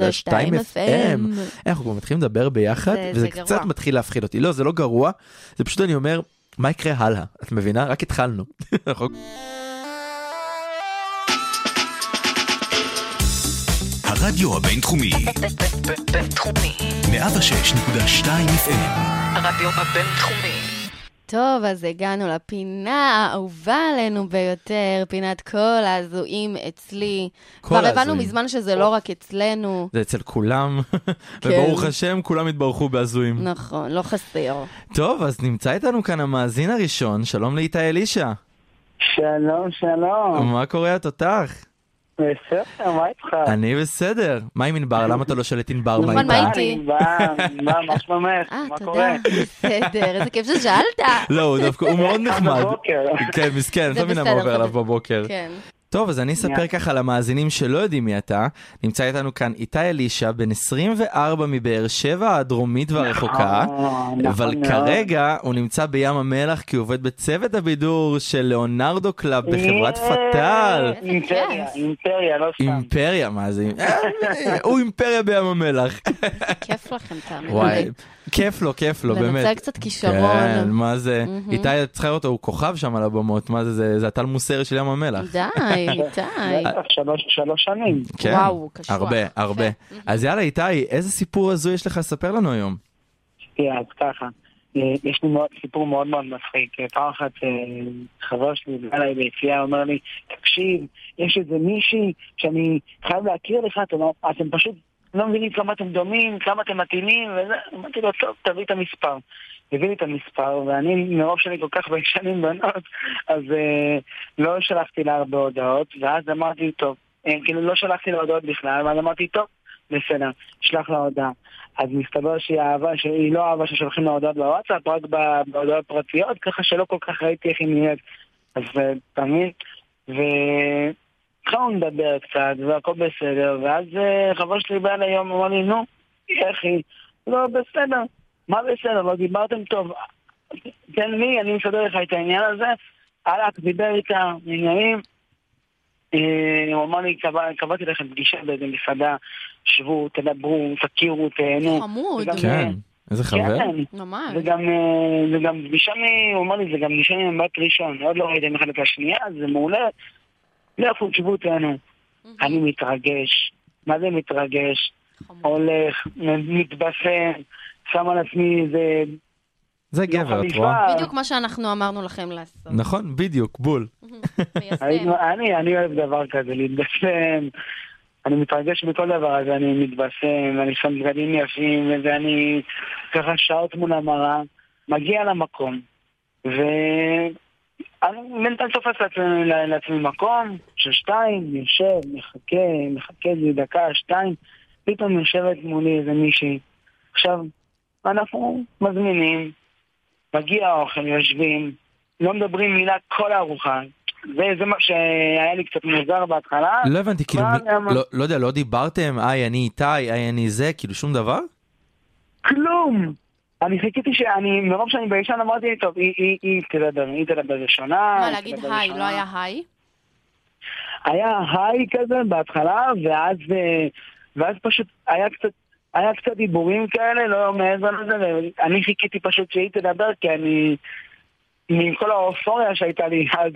C: FM. אנחנו כבר מתחילים לדבר ביחד,
D: זה-
C: וזה
D: זה
C: קצת
D: גרוע.
C: מתחיל להפחיד אותי. לא, זה לא גרוע, זה פשוט אני אומר, מה יקרה הלאה? את מבינה? רק התחלנו. נכון? אנחנו
A: הרדיו הבינתחומי,
B: ב- בינתחומי.
A: 106.2 FM,
B: הרדיו הבינתחומי.
D: טוב, אז הגענו לפינה האהובה עלינו ביותר, פינת כל ההזויים אצלי.
C: כל
D: כבר הבנו
C: ההזויים.
D: מזמן שזה לא רק אצלנו.
C: זה אצל כולם,
D: כן.
C: וברוך השם, כולם התברכו בהזויים.
D: נכון, לא חסר.
C: טוב, אז נמצא איתנו כאן המאזין הראשון, שלום לאיתי אלישע.
E: שלום, שלום.
C: מה קורה התותח?
E: בסדר, מה איתך?
C: אני בסדר. מה עם ענבר? למה אתה לא שואל את ענבר מה
D: נכון,
C: איתה?
D: מה איתי?
E: מה, מה, מה שלומך?
D: אה,
E: מה
D: תודה,
E: קורה?
D: בסדר, איזה כיף ששאלת.
C: לא, הוא דווקא, הוא מאוד נחמד.
E: בבוקר.
C: כן, מסכן,
D: זה
C: לא מבינה מה
D: בסדר,
C: עובר עליו
D: בסדר.
C: בבוקר.
D: כן.
C: טוב, אז אני אספר
E: שנייה.
C: ככה למאזינים שלא יודעים מי אתה. נמצא איתנו כאן איתי אלישע, בן 24 מבאר שבע הדרומית והרחוקה.
E: נכון, נכון
C: אבל
E: מאוד.
C: כרגע הוא נמצא בים המלח כי הוא עובד בצוות הבידור של ליאונרדו קלאב בחברת
E: אה,
C: פטל.
E: אימפריה, אימפריה, לא סתם.
C: אימפריה, מה זה? אה, הוא אימפריה בים המלח.
D: כיף לכם, תאמינו
C: וואי,
D: לי.
C: כיף לו, כיף לו, באמת.
D: לנצל קצת
C: כן,
D: כישרון.
C: מה זה? איתי, את צריכה לראות, הוא כוכב שם על הבמות, מה זה? זה? זה הטל מוסרי של ים המלח.
D: די, איתי.
E: בטח, שלוש שלוש שנים.
C: כן,
D: וואו, קשוח.
C: הרבה, הרבה. אז יאללה, איתי, איזה סיפור הזוי יש לך לספר לנו היום?
E: תראה, אז ככה.
F: כן, אה, יש לי מאוד, סיפור מאוד מאוד מצחיק. אה, פעם אחת אה, חבר שלי בא אליי ביציאה, אומר לי, תקשיב, יש איזה מישהי שאני חייב להכיר לך, אתה לא- אתם פשוט לא מבינים כמה אתם דומים, כמה אתם מתאימים, וזה, אמרתי לו, טוב, תביא את המספר. הביא לי את המספר, ואני, מרוב שאני כל כך ביישנים בנות, אז אה, לא שלחתי לה הרבה הודעות, ואז אמרתי, טוב, אה, כאילו לא שלחתי לה הודעות בכלל, ואז אמרתי, טוב, בסדר, שלח לה הודעה. אז מסתבר שהיא אהבה, שהיא לא אהבה ששולחים לה הודעות בוואטסאפ, רק ב- בהודעות פרטיות, ככה שלא כל כך ראיתי איך היא נהיית. אז אה, תמיד, והתחלנו לדבר קצת, והכל בסדר, ואז אה, חבר שלי בא אליי היום, אמר לי, נו, איך היא? לא, בסדר. מה בסדר? לא דיברתם טוב. תן לי, אני מסדר לך את העניין הזה. הלך, דיבר איתה, עניינים. אה, הוא אמר לי, "קבע- קבעתי לכם פגישה באיזה מסעדה, שבו, תדברו, תכירו, תהנו.
D: חמוד,
F: וגם-
C: כן, איזה חבר.
F: כן.
D: ממש.
F: זה גם, אה, זה גם פגישה מ... הוא אמר לי, זה גם פגישה ממבט ראשון, עוד לא ראיתם אחד את השנייה, זה מעולה. לכו, תשבו אותנו. אני מתרגש, מה זה מתרגש?
D: חמוד.
F: הולך, מתבשם, שם על עצמי איזה...
C: זה גבר, את רואה?
D: בדיוק מה שאנחנו אמרנו לכם לעשות.
C: נכון, בדיוק, בול.
D: מיישם.
F: היינו- אני, לא אני אוהב דבר כזה, להתבשם. אני מתרגש מכל דבר, אז אני מתבשם, ואני שם בגדים יפים, ואני ככה שעות מול המראה, מגיע למקום, ואני בינתיים תופס לעצמי, לעצמי מקום של שתיים, יושב, מחכה, מחכה איזה דקה, שתיים, פתאום יושבת מולי איזה מישהי. עכשיו, אנחנו מזמינים, מגיע האוכל, יושבים, לא מדברים מילה כל הארוחה. זה, זה מה שהיה לי קצת מוזר בהתחלה.
C: לא הבנתי, כאילו,
F: מה,
C: מי-
F: למה?
C: לא- לא יודע, לא דיברתם, היי, אני איתי, היי, אני זה, כאילו שום דבר?
F: כלום! אני חיכיתי שאני, מרוב שאני ביישן אמרתי, טוב, היא, היא, היא תדבר, היא תדבר ראשונה.
D: מה,
F: היא
D: להגיד
F: תדבר
D: היי, לא
F: ראשונה.
D: היה היי?
F: היה היי כזה בהתחלה, ואז, אה, ואז פשוט היה קצת... היה קצת דיבורים כאלה, לא מעבר לזה, ואני חיכיתי פשוט שהיא תדבר, כי אני... עם כל האופוריה שהייתה לי אז,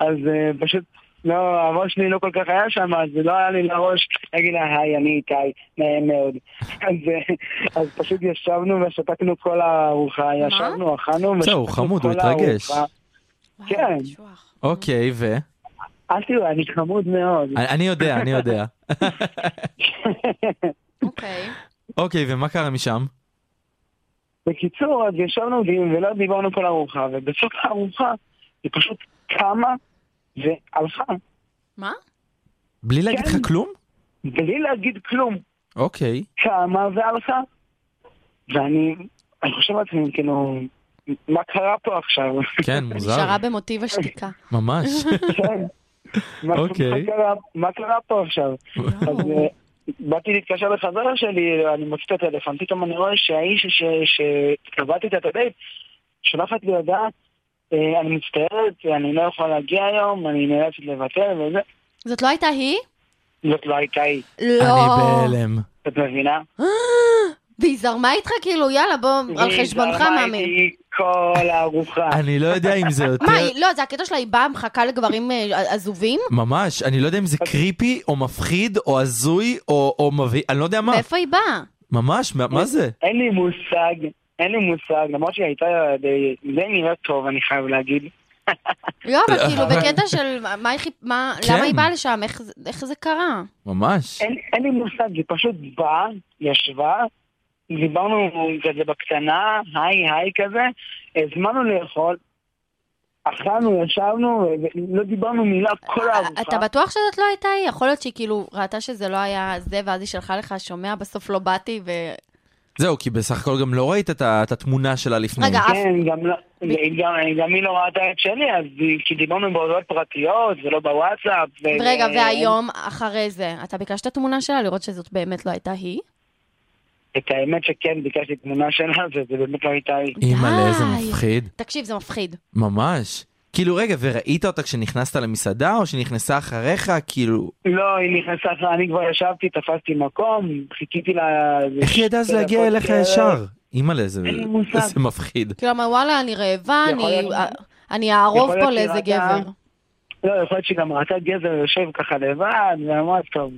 F: אז אה, פשוט, לא, הראש שלי לא כל כך היה שם, אז לא היה לי לראש להגיד לה, היי, אני איתי, נעים מאוד. אז, אה, אז פשוט ישבנו ושתקנו כל הארוחה, ישבנו, אכלנו,
C: זהו, הוא
F: ושתקנו
C: חמוד, הוא
F: כל הארוחה.
C: התרגש.
D: וואו,
F: כן.
D: קשוח.
C: אוקיי, ו?
F: אל תראו, אני חמוד מאוד.
C: אני- אני יודע, אני יודע.
D: אוקיי.
C: אוקיי, ומה קרה משם?
F: בקיצור, אז ישבנו די- ולא דיברנו כל ארוחה, ובסוף הארוחה היא פשוט קמה והלכה,
D: מה?
C: בלי להגיד
F: כן.
C: לך כלום?
F: בלי להגיד כלום,
C: אוקיי.
F: קמה והלכה. ואני אני חושב לעצמי, כאילו, מה קרה פה עכשיו?
C: כן, מוזר.
D: נשארה במוטיב השתיקה.
C: ממש.
F: כן. מה- מה
C: אוקיי.
F: קרה- מה קרה פה עכשיו? אז אה, באתי להתקשר לחבר שלי, אני מוציא את הטלפון, פתאום אני רואה שהאיש ש- שקבעתי איתה את הדייט, שולחת לי הודעה, אה, אני מצטערת, אני לא יכולה להגיע היום, אני נאלצת לבטל וזה.
D: זאת לא הייתה היא?
F: זאת לא הייתה היא,
D: לא.
C: אני בהלם.
F: את מבינה?
D: והיא זרמה איתך כאילו, יאללה, בוא, על חשבונך,
F: והיא זרמה
D: מאמי.
F: איתי כל הארוחה.
C: אני לא יודע אם זה
D: מה,
C: יותר...
D: היא- לא, זה הקטע שלה, היא באה, מחכה לגברים אה, עזובים?
C: ממש, אני לא יודע אם זה
D: אוקיי.
C: קריפי, או מפחיד, או הזוי, או או מביא... אני לא יודע מה.
D: מאיפה היא באה?
C: ממש, מה- מה זה?
F: אין לי מושג, אין לי מושג, למרות שהיא הייתה די די נראית טוב, אני חייב להגיד.
D: לא, אבל כאילו, בקטע של מה היא חיפ- מה-
C: כן.
D: למה היא באה לשם? איך זה- איך זה קרה?
C: ממש.
D: אה.
F: אין, אין לי מושג, היא פשוט באה, ישבה, דיברנו כזה בקטנה, היי היי כזה, הזמנו לאכול, אכלנו, ישבנו, ולא דיברנו מילה כל הארוחה.
D: אה, אתה בטוח שזאת לא הייתה היא? יכול להיות שהיא כאילו ראתה שזה לא היה זה, ואז היא שלחה לך, שומע, בסוף לא באתי, ו...
C: זהו, כי בסך הכל גם לא ראית את ה- את התמונה שלה לפני.
D: רגע, אף...
F: כן, גם, לא, גם, גם היא לא ראתה את שלי, אז היא- כי דיברנו בהודעות פרטיות, ולא בוואטסאפ. ו...
D: רגע, והיום, אחרי זה, אתה ביקשת תמונה שלה לראות שזאת באמת לא הייתה היא?
F: את האמת שכן, ביקשתי תמונה שלה, וזה באמת לא הייתה היא.
C: אימא'לה, איזה
D: די.
C: מפחיד.
D: תקשיב, זה מפחיד.
C: ממש. כאילו, רגע, וראית אותה כשנכנסת למסעדה, או שנכנסה אחריך? כאילו...
F: לא, היא נכנסה, אחרי- אני כבר ישבתי, תפסתי מקום, חיכיתי לה... איזה
C: איך היא ידעה אז
D: כן,
F: שתי
C: להגיע
F: דקות
C: אליך
F: כאלה.
C: ישר? אימא'לה, זה
F: אין לי מושג.
C: זה מפחיד.
D: כאילו, אמר, וואלה, אני רעבה,
F: יכול
D: אני- אה,
F: להיות-
D: אני אערוב
F: יכול להיות
D: פה
F: שהיא
D: לאיזה
F: ראתה-
D: גבר.
F: לא, יכול להיות שגם ראתה גבר יושב ככה לבד, ואמרה, טוב,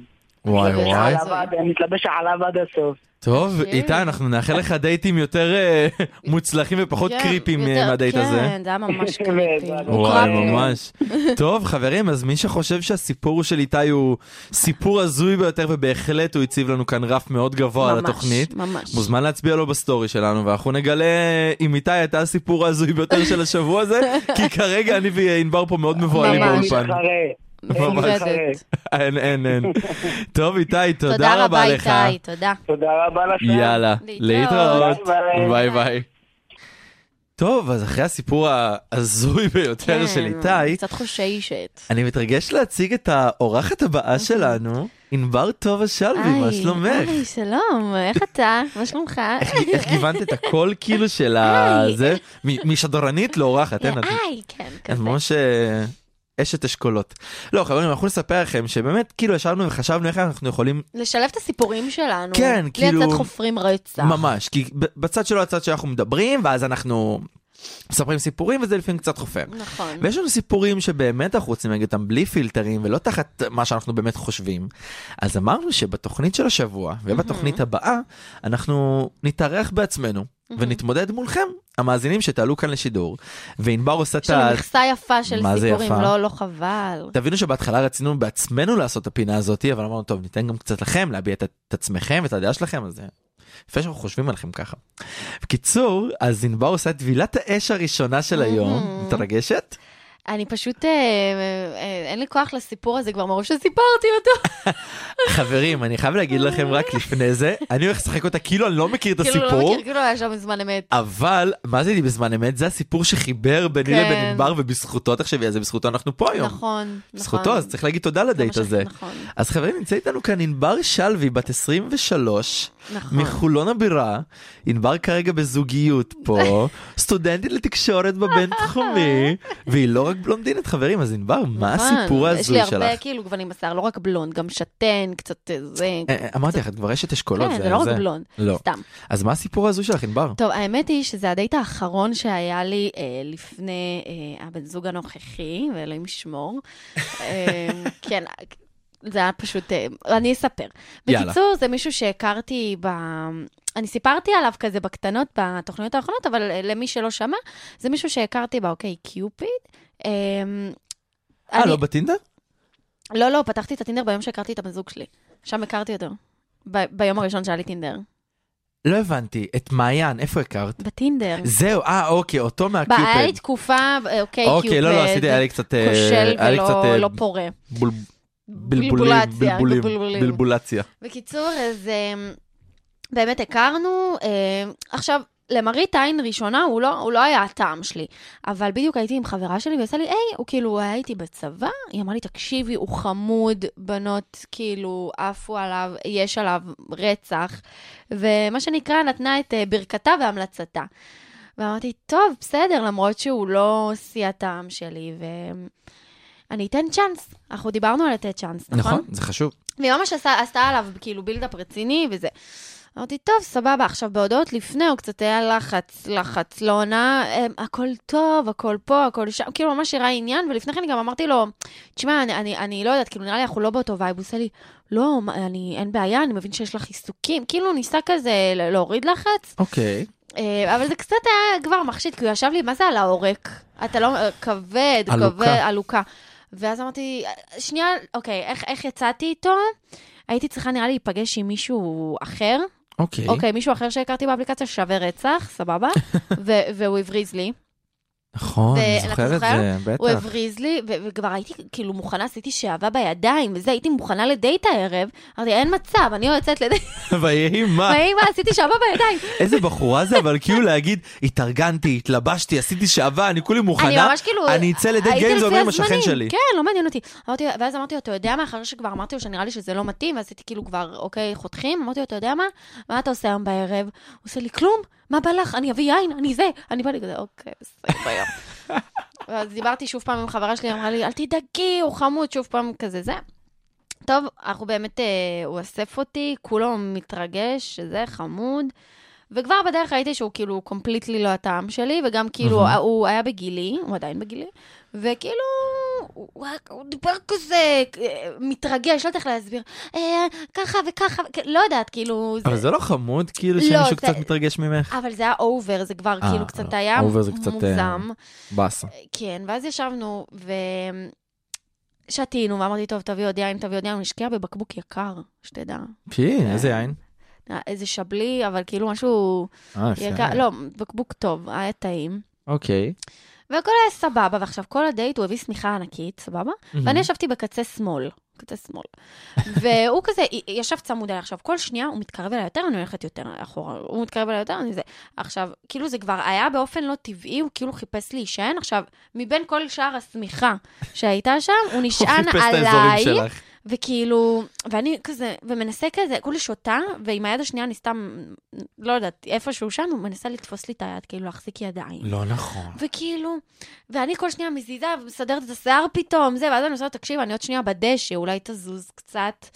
C: וואי
D: זה
C: וואי.
D: שאלה.
F: עליו עד- אני מתלבש עליו עד הסוף.
C: טוב,
D: תקשיב.
C: איתי, אנחנו נאחל לך דייטים יותר אה, מוצלחים ופחות
D: כן,
C: קריפים אה,
D: יותר-
C: מהדייט הזה.
D: כן, זה היה ממש
E: זה-
D: קריפי.
E: זה-
C: וואי,
D: הוקרבנו.
C: ממש. טוב, חברים, אז מי שחושב שהסיפור של איתי הוא סיפור הזוי ביותר, ובהחלט הוא הציב לנו כאן רף מאוד גבוה על
D: ממש,
C: התוכנית,
D: ממש.
C: מוזמן להצביע לו בסטורי שלנו, ואנחנו נגלה אם איתי הייתה הסיפור ההזוי ביותר של השבוע הזה, כי כרגע אני וענבר פה מאוד מבוהלים
D: ממש.
E: אין
C: באולפן.
E: מתחרה. אין
C: ממש.
E: מתחרה.
D: מאוחדת.
C: אין, אין, אין. טוב, איתי,
D: תודה
C: תודה
D: רבה,
C: רבה לך.
D: איתי, תודה.
E: תודה רבה לכם.
C: יאללה, להתראות.
D: להתראות.
E: ביי,
C: ביי
D: ביי.
C: ביי. טוב, אז אחרי הסיפור ההזוי ביותר של איתי,
D: כן. קצת חושי שט.
C: אני מתרגש להציג את האורחת הבאה שלנו, ענבר טובה שלוי, מה שלומך?
D: אוקיי. היי, שלום, איך אתה? מה שלומך?
C: איך- איך גיוונת את הקול כאילו של ה-
D: היי.
C: זה? מ- משדרנית לאורחת, אין את
D: היי, כן,
C: את
D: כזה.
C: ממש אה, אשת אשכולות. לא, חברים, אנחנו נספר לכם שבאמת, כאילו, ישבנו וחשבנו איך אנחנו יכולים
D: לשלב את הסיפורים שלנו.
C: כן, כאילו-
D: בלי לצאת חופרים רצח.
C: ממש, כי ב- בצד שלו הצד שאנחנו מדברים, ואז אנחנו מספרים סיפורים, וזה לפעמים קצת חופר.
D: נכון.
C: ויש לנו סיפורים שבאמת אנחנו רוצים להגיד אותם בלי פילטרים ולא תחת מה שאנחנו באמת חושבים. אז אמרנו שבתוכנית של השבוע ובתוכנית הבאה אנחנו נתארח בעצמנו ונתמודד מולכם, המאזינים שתעלו כאן לשידור, וענבר עושה את
D: יש לנו
C: ה...
D: מכסה יפה של
C: מה זה
D: סיפורים,
C: יפה?
D: לא, לא חבל.
C: תבינו שבהתחלה רצינו בעצמנו לעשות את הפינה הזאת, אבל אמרנו, טוב, ניתן גם קצת לכם להביע את, את עצמכם ואת הדעה שלכם, אז זה יפה שאנחנו חושבים עליכם ככה. בקיצור, אז ענבר עושה את טבילת האש הראשונה של היום,
D: Mhm.
C: מתרגשת?
D: אני פשוט, אה, אה, אה, אין לי כוח לסיפור הזה כבר מראש שסיפרתי אותו.
C: חברים, אני חייב להגיד לכם רק לפני זה, אני הולך לשחק אותה כאילו אני לא מכיר את
D: אה. כאילו, לא
C: הסיפור,
D: מכיר, כאילו היה שם בזמן
C: אה,
D: אמת.
C: אבל מה זה לי בזמן אמת? זה הסיפור שחיבר ביני
D: כן.
C: לבין ענבר, ובזכותו, תחשבי על זה, בזכותו אנחנו פה היום.
D: נכון, נכון.
C: בזכותו, אז צריך להגיד תודה
D: זה מה
C: לדייט
D: ש-
C: הזה.
D: נכון,
C: אז חברים, נמצאת איתנו כאן ענבר שלוי, בת 23,
D: נכון.
C: מחולון הבירה. ענבר כרגע בזוגיות פה, סטודנטית לתקשורת בבינתחומי, והיא לא רק בלונדינית, חברים, אז ענבר, מה
D: נכון.
C: הסיפור
D: יש
C: ההזוי
D: לי הרבה
C: שלך?
D: כאילו גוונים בשיער, לא רק בלונד, גם שתן, קצת אה, זה.
C: אה, אה, אמרתי לך, את כבר אשת אשכולות,
D: כן, זה לא רק בלונד,
C: לא.
D: סתם.
C: אז מה הסיפור ההזוי שלך, ענבר?
D: טוב, האמת היא שזה הדייט האחרון שהיה לי אה, לפני אה, הבן זוג הנוכחי, ואלוהים ישמור. אה, כן, זה היה פשוט, אה, אני אספר.
C: יאללה.
D: בקיצור, זה מישהו שהכרתי ב... אני סיפרתי עליו כזה בקטנות בתוכניות האחרונות, אבל אה, למי שלא שמע, זה מישהו שהכרתי באוקיי קיופיד. אה,
C: אה,
D: אני-
C: לא בטינדר?
D: לא, לא, פתחתי את הטינדר ביום שהכרתי את הבן זוג שלי. שם הכרתי אותו. ב- ביום הראשון שהיה לי טינדר.
C: לא הבנתי. את מעיין, איפה הכרת?
D: בטינדר.
C: זהו, אה, אוקיי, אותו
D: ב- היה לי
C: מהקיופד.
D: תקופה, אה, אוקיי,
C: אוקיי, לא, לא, עשיתי, היה לי קצת... אה,
D: כושל
C: היה לי קצת,
D: ולא
C: אה,
D: לא פורה.
C: בול- בלבולים,
D: בלבולציה,
C: בלבולים,
D: בלבולים.
C: בלבולציה.
D: בקיצור, אז אמ, באמת הכרנו. אמ, עכשיו, למראית עין ראשונה הוא לא, הוא לא היה הטעם שלי, אבל בדיוק הייתי עם חברה שלי והיא עושה לי, היי, הוא כאילו, הוא היה איתי בצבא, היא אמרה לי, תקשיבי, הוא חמוד, בנות כאילו עפו עליו, יש עליו רצח, ומה שנקרא, נתנה את אה, ברכתה והמלצתה. ואמרתי, טוב, בסדר, למרות שהוא לא שיא הטעם שלי, ואני אתן צ'אנס. אנחנו דיברנו על לתת צ'אנס, נכון?
C: נכון, זה חשוב.
D: והיא ממש עשה, עשתה עליו כאילו בילדאפ רציני וזה. אמרתי, טוב, סבבה, עכשיו בהודעות לפני, הוא קצת היה לחץ, לחץ, לא עונה, אמ, הכל טוב, הכל פה, הכל שם, כאילו ממש הראה עניין, ולפני כן גם אמרתי לו, תשמע, אני, אני, אני לא יודעת, כאילו נראה לי אנחנו לא באותו וייב, הוא עושה לי, לא, מה, אני, אין בעיה, אני מבין שיש לך עיסוקים, כאילו הוא ניסה כזה ל- להוריד לחץ,
C: אוקיי.
D: אה, אבל זה קצת היה כבר מחשיד, כי הוא ישב לי, מה זה על העורק? אתה לא, אה, כבד,
C: עלוקה.
D: כבד, עלוקה. ואז אמרתי, "אה, שנייה, אוקיי, איך, איך יצאתי איתו? הייתי צריכה נראה לי להיפגש עם מישהו אחר.
C: אוקיי.
D: אוקיי, מישהו אחר שהכרתי באפליקציה שווה רצח, סבבה. ו- והוא הבריז לי.
C: נכון, אני
D: זה- אתה
C: זוכר את
D: זוכר?
C: זה,
D: הוא
C: בטח.
D: הבריז לי, ו- וכבר הייתי כאילו מוכנה, עשיתי שעבה בידיים, וזה, הייתי מוכנה לדייט הערב. אמרתי, אין מצב, אני לא יוצאת לדייט,
C: ויהי מה,
D: מה, מה, עשיתי שעבה בידיים.
C: איזה בחורה זה, אבל כאילו להגיד, התארגנתי, התלבשתי, עשיתי שעבה, אני כולי מוכנה.
D: אני ממש כאילו...
C: אני אצא לדייט
D: הייתי
C: גם אם זה
D: לפי
C: אומר עם השכן
D: הזמנים.
C: שלי.
D: כן, לא מעניין אותי. אמרתי, ואז אמרתי לו, אתה יודע מה, אחרי שכבר אמרתי לו שנראה לי שזה לא מתאים, ואז הייתי כאילו כבר, אוקיי, חותכים, אמרתי לו, אתה יודע מה, מה אתה עושה היום בערב? הוא עושה לי, כלום, מה בא לך? אני אביא יין, אני זה, אני בא לי כזה, אוקיי, בסדר, ביום. ואז דיברתי שוב פעם עם חברה שלי, אמרה לי, אל תדאגי, הוא חמוד, שוב פעם כזה זה. טוב, אנחנו באמת, אה, הוא אסף אותי, כולו מתרגש, שזה חמוד. וכבר בדרך ראיתי שהוא כאילו קומפליטלי לא הטעם שלי, וגם כאילו
C: מהמם.
D: הוא היה בגילי, הוא עדיין בגילי, וכאילו הוא, הוא, הוא דיבר כזה, אה, מתרגש, לא יודעת איך להסביר. אה, ככה וככה, וכ- לא יודעת, כאילו...
C: אבל זה לא חמוד כאילו
D: לא,
C: שמישהו
D: זה-
C: קצת מתרגש ממך?
D: אבל זה היה אובר, זה כבר
C: אה,
D: כאילו קצת
C: לא,
D: היה
C: over זה קצת, אה,
D: מוגזם.
C: באסה.
D: כן, ואז ישבנו ושתינו, ואמרתי, טוב, תביא עוד יין, תביא עוד יין, הוא השקיע בבקבוק יקר, שתדע.
C: פי, כן, איזה יין.
D: אה, איזה שבלי, אבל כאילו משהו
C: אה,
D: יקר,
C: יפה.
D: לא, בקבוק טוב, היה טעים.
C: אוקיי.
D: והכל היה סבבה, ועכשיו כל הדייט הוא הביא שמיכה ענקית, סבבה? ואני ישבתי בקצה שמאל, קצה שמאל. והוא כזה, י- ישב צמוד אליי. עכשיו, כל שנייה הוא מתקרב אליי יותר, אני הולכת יותר אחורה. הוא מתקרב אליי יותר, אני זה. עכשיו, כאילו זה כבר היה באופן לא טבעי, הוא כאילו חיפש להישען. עכשיו, מבין כל שאר השמיכה שהייתה שם, הוא
C: הוא
D: נשען
C: חיפש את האזורים
D: עליי.
C: שלך.
D: וכאילו, ואני כזה, ומנסה כזה, כולי שותה, ועם היד השנייה אני סתם, לא יודעת, איפשהו שם, הוא מנסה לתפוס לי את היד, כאילו להחזיק ידיים.
C: לא נכון.
D: וכאילו, ואני כל שנייה מזיזה ומסדרת את השיער פתאום, זה, ואז אני עושה לו, תקשיב, אני עוד שנייה בדשא, אולי תזוז קצת.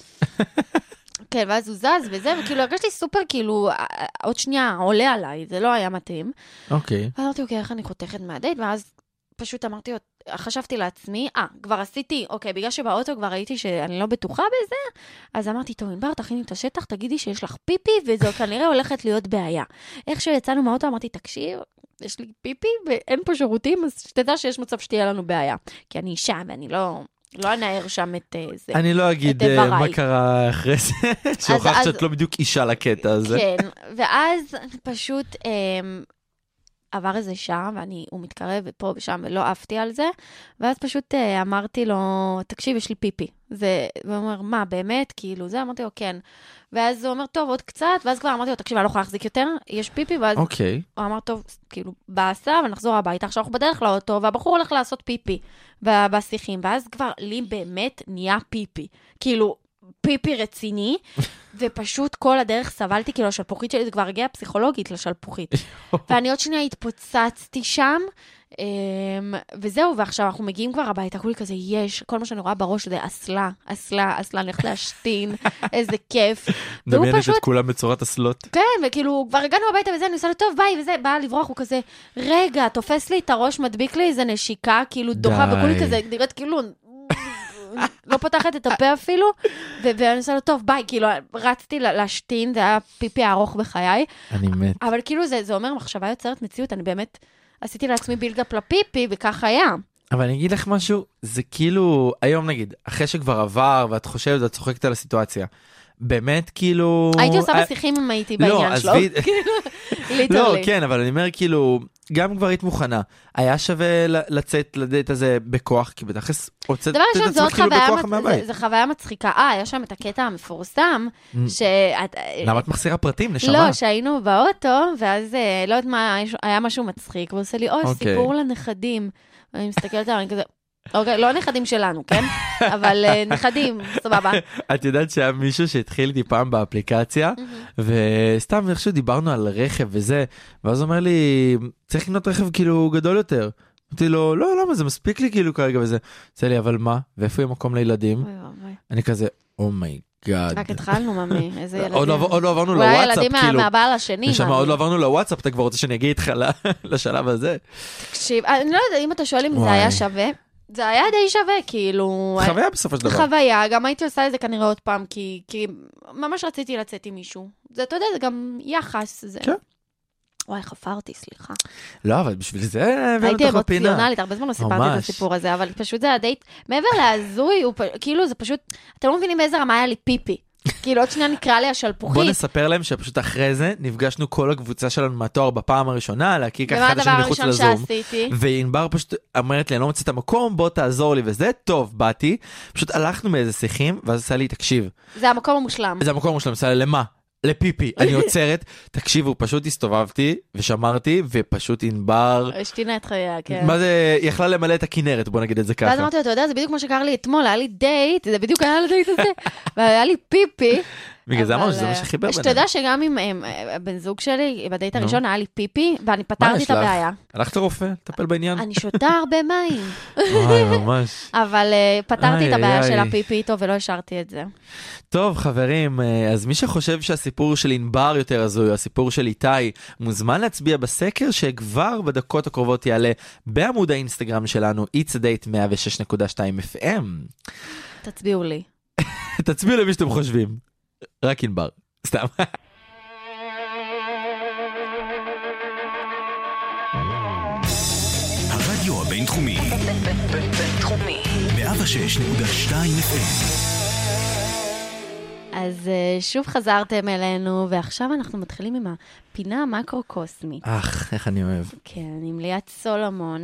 D: כן, ואז הוא זז וזה, וכאילו הרגשתי סופר, כאילו, אה, אה, עוד שנייה עולה עליי, זה לא היה מתאים.
C: אוקיי.
D: ואז אמרתי, אוקיי, איך אני חותכת מהדייט? ואז פשוט אמרתי, חשבתי לעצמי, אה, כבר עשיתי, אוקיי, בגלל שבאוטו כבר ראיתי שאני לא בטוחה בזה, אז אמרתי, טוב, ענבר, תכיני את השטח, תגידי שיש לך פיפי, וזו כנראה הולכת להיות בעיה. איך שיצאנו מהאוטו, אמרתי, תקשיב, יש לי פיפי ואין פה שירותים, אז שתדע שיש מצב שתהיה לנו בעיה. כי אני אישה ואני לא, לא אנער שם את אה, זה.
C: אני לא אגיד
D: את
C: אה, מה
D: איבריי.
C: קרה אחרי זה, שהוכחת
D: אז-
C: שאת לא בדיוק אישה לקטע הזה.
D: כן, ואז פשוט אמ, עבר איזה שעה, ואני, הוא מתקרב ופה ושם, ולא עפתי על זה, ואז פשוט אה, אמרתי לו, תקשיב, יש לי פיפי. זה, והוא אומר, מה, באמת? כאילו, זה? אמרתי לו, כן. ואז הוא אומר, טוב, עוד קצת, ואז כבר אמרתי לו, תקשיב, אני לא יכולה להחזיק יותר, יש פיפי, ואז
C: אוקיי.
D: הוא אמר, טוב, כאילו, באסה, ונחזור הביתה, עכשיו אנחנו בדרך לאוטו, והבחור הולך לעשות פיפי ב- בשיחים, ואז כבר לי באמת נהיה פיפי. כאילו, פיפי רציני, ופשוט כל הדרך סבלתי, כאילו, השלפוחית שלי, זה כבר הגיעה פסיכולוגית לשלפוחית. ואני עוד שנייה התפוצצתי שם, אמ, וזהו, ועכשיו אנחנו מגיעים כבר הביתה, כולי כזה, יש, כל מה שאני רואה בראש זה אסלה, אסלה, אסלה, אני הולכת להשתין, איזה כיף. והוא
C: מדמיינת
D: פשוט
C: את כולם בצורת הסלוט.
D: כן, וכאילו, כבר הגענו הביתה וזה, אני עושה לו, טוב, ביי, וזה, בא לברוח, הוא כזה, רגע, תופס לי את הראש, מדביק לי איזה נשיקה, כאילו דוחה,
C: די.
D: וכולי כזה, נראית כאילו, לא פותחת את הפה אפילו, ו- ואני עושה לו, טוב, ביי, כאילו, רצתי לה- להשתין, זה היה פיפי הארוך בחיי,
C: אני מת.
D: אבל כאילו, זה, זה אומר, מחשבה יוצרת מציאות, אני באמת עשיתי לעצמי בילדאפ לפיפי, וכך היה.
C: אבל אני אגיד לך משהו, זה כאילו, היום נגיד, אחרי שכבר עבר ואת חושבת ואת צוחקת על הסיטואציה, באמת כאילו...
D: הייתי עושה
C: אה,
D: בשיחים אם הייתי
C: לא,
D: בעניין שלו,
C: עזבי- לא,
D: ליטרלי.
C: כן, אבל אני אומר כאילו, גם כבר היית מוכנה, היה שווה ל- לצאת לדייט הזה בכוח, כי בתכלס הוצאת
D: דבר
C: את
D: ראשון, זו
C: עצמך
D: עוד
C: כאילו
D: חוויה,
C: בכוח
D: מצ- זה-
C: מהבית. Mm.
D: זה חוויה מצחיקה. אה, היה שם את הקטע המפורסם, שאת...
C: למה את מחסירה פרטים, נשמה?
D: לא, שהיינו באוטו, ואז אה, לא יודעת מה, יש- היה משהו מצחיק, והוא עושה לי, אוי,
C: אוקיי.
D: סיפור לנכדים. אני מסתכלת עליו, אני כזה, אוקיי, לא נכדים שלנו, כן? אבל אה, נכדים, סבבה.
C: את יודעת שהיה מישהו שהתחיל איתי פעם באפליקציה, וסתם איכשהו דיברנו על רכב וזה, ואז הוא אומר לי, צריך לקנות רכב כאילו גדול יותר. אמרתי לו, לא, למה זה מספיק לי כאילו כרגע וזה. עושה לי, אבל מה, ואיפה יהיה מקום לילדים?
D: אוי, אוי,
C: אני כזה, אומייגאד.
D: רק התחלנו, ממי, איזה ילדים.
C: עוד לא עבר- עוד לא עברנו
D: אולי
C: לוואטסאפ,
D: ילדים מה-
C: כאילו.
D: מהבעל השני.
C: נשמה,
D: מאמי.
C: עוד לא עברנו לוואטסאפ, אתה כבר רוצה שאני אגיע איתך ל- לשלב הזה?
D: תקשיב, אני לא יודעת, אם אתה שואל אם
C: וואי.
D: זה היה שווה, זה היה די שווה, כאילו...
C: חוויה בסופו של דבר.
D: חוויה, גם הייתי עושה את זה כנראה עוד פעם, כי, כי ממש רציתי לצאת עם מישהו. זה, אתה יודע, זה גם יחס. זה...
C: כן.
D: וואי, חפרתי, סליחה.
C: לא, אבל בשביל זה הבאנו
D: הייתי
C: אותך לפינה.
D: אמוציונלית, הרבה זמן לא סיפרתי את
C: ממש.
D: הסיפור הזה, אבל פשוט זה הדייט, מעבר להזוי, הוא פ- כאילו, זה פשוט, אתם לא מבינים באיזה רמה היה לי פיפי. כאילו, עוד שנייה נקרא לי
C: בוא
D: השלפוחית.
C: נספר להם שפשוט אחרי זה נפגשנו כל הקבוצה שלנו מהתואר בפעם הראשונה, להכיר ככה
D: ומה
C: אחד את
D: הדבר
C: השני מחוץ
D: הראשון
C: לזום.
D: שעשיתי?
C: וענבר פשוט אומרת לי, אני לא מוצא את המקום, בוא תעזור לי וזה, טוב, באתי, פשוט הלכנו מאיזה שיחים, ואז עשה לי, תקשיב,
D: זה המקום המושלם.
C: זה המקום שלנו, עשה לי, למה? לפיפי, אני עוצרת, תקשיבו, פשוט הסתובבתי ושמרתי, ופשוט ענבר,
D: השתינה את חייה, כן.
C: מה זה, היא יכלה למלא את הכנרת, בוא נגיד את זה
D: ואז
C: ככה.
D: אמרתי לו, אתה יודע, זה בדיוק מה שקרה לי אתמול, היה לי דייט, זה בדיוק היה לי דייט הזה, והיה לי פיפי,
C: בגלל זה
D: אבל,
C: אמרנו שזה
D: אה,
C: מה שחיבר בינינו.
D: שתדע שגם עם אה, אה, בן זוג שלי, בדייט
C: נו.
D: הראשון היה לי פיפי, ואני
C: מה
D: פתרתי
C: יש
D: את
C: לך?
D: הבעיה.
C: הלכת לרופא, טפל בעניין.
D: אה, אני שותה הרבה מים,
C: וואי, ממש.
D: אבל אה, פתרתי
C: איי,
D: את הבעיה
C: איי.
D: של הפיפי איתו ולא השארתי את זה.
C: טוב, חברים, אה, אז מי שחושב שהסיפור של ענבר יותר הזוי, או הסיפור של איתי, מוזמן להצביע בסקר שכבר בדקות הקרובות יעלה בעמוד האינסטגרם שלנו, It's a Date 106.2 FM.
D: תצביעו לי.
C: תצביעו למי שאתם חושבים, רק ענבר, סתם.
A: הרדיו הבינתחומי,
B: בינתחומי.
A: 106.2 FM,
D: אז אה, שוב חזרתם אלינו, ועכשיו אנחנו מתחילים עם הפינה המקרו-קוסמית.
C: אך, איך אני אוהב.
D: כן, עם ליאת סולומון.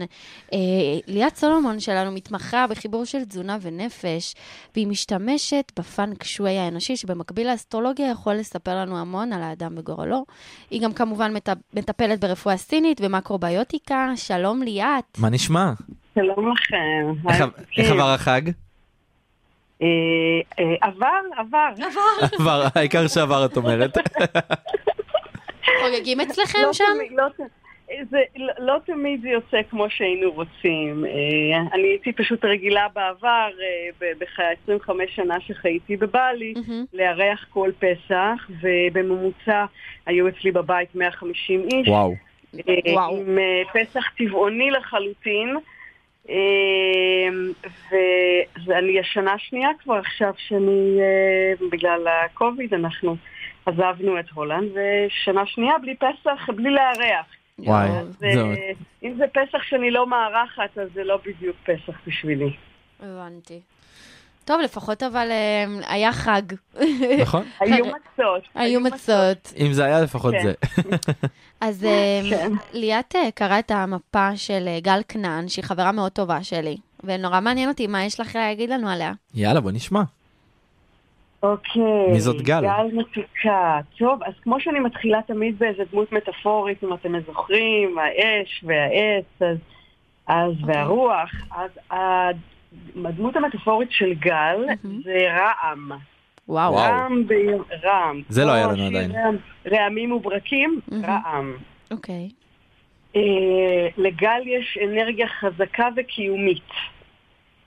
D: אה, ליאת סולומון שלנו מתמחה בחיבור של תזונה ונפש, והיא משתמשת בפאנק שווי האנושי, שבמקביל לאסטרולוגיה יכול לספר לנו המון על האדם וגורלו. היא גם כמובן מטפ- מטפלת ברפואה סינית ומקרוביוטיקה. שלום ליאת.
C: מה נשמע?
F: שלום לכם.
C: איך-
F: היי,
C: איך עבר החג?
F: אה, אה, עבר, עבר.
C: עבר, העיקר שעבר, את אומרת.
D: חוגגים אצלכם
F: לא
D: שם?
F: תמיד- לא ת- זה, לא, לא תמיד זה יוצא כמו שהיינו רוצים. אה, אני הייתי פשוט רגילה בעבר, אה, ב- בחיי 25 שנה שחייתי בבלי,
D: מהמם.
F: לארח כל פסח, ובממוצע היו אצלי בבית 150 איש.
C: וואו.
F: אה,
D: וואו.
F: עם אה, פסח צבעוני לחלוטין. אה, ו- ואני השנה השנייה כבר עכשיו שאני, אה, בגלל הקוביד, אנחנו עזבנו את הולנד, ושנה שנייה בלי פסח, בלי לארח.
C: וואי.
D: יואו,
F: זה-
C: זהו.
F: אם זה פסח שאני לא מארחת, אז זה לא בדיוק פסח בשבילי.
D: הבנתי. טוב, לפחות אבל אה, היה חג.
C: נכון?
F: היו מצות.
D: כן. היו מצות.
C: אם זה היה לפחות
F: כן.
C: זה.
D: אז אה,
F: כן.
D: ליאת אה, קראה את המפה של אה, גל כנען, שהיא חברה מאוד טובה שלי, ונורא מעניין אותי מה יש לך להגיד לנו עליה.
C: יאללה, בוא נשמע.
F: אוקיי.
C: מי זאת גל?
F: גל מתוקה. טוב, אז כמו שאני מתחילה תמיד באיזה דמות מטאפורית, אם אתם זוכרים, האש והעץ, אז, אז
C: אוקיי.
F: okay. והרוח, אז הד- הדמות המטאפורית של גל
D: מהמם.
F: זה רעם.
D: וואו.
C: וואו.
F: רעם ב- רעם.
C: זה לא היה לנו
F: כמו השיר
C: עדיין.
F: רעם- רעמים וברקים,
D: מהמם.
F: רעם.
D: אוקיי.
F: אה, לגל יש אנרגיה חזקה וקיומית.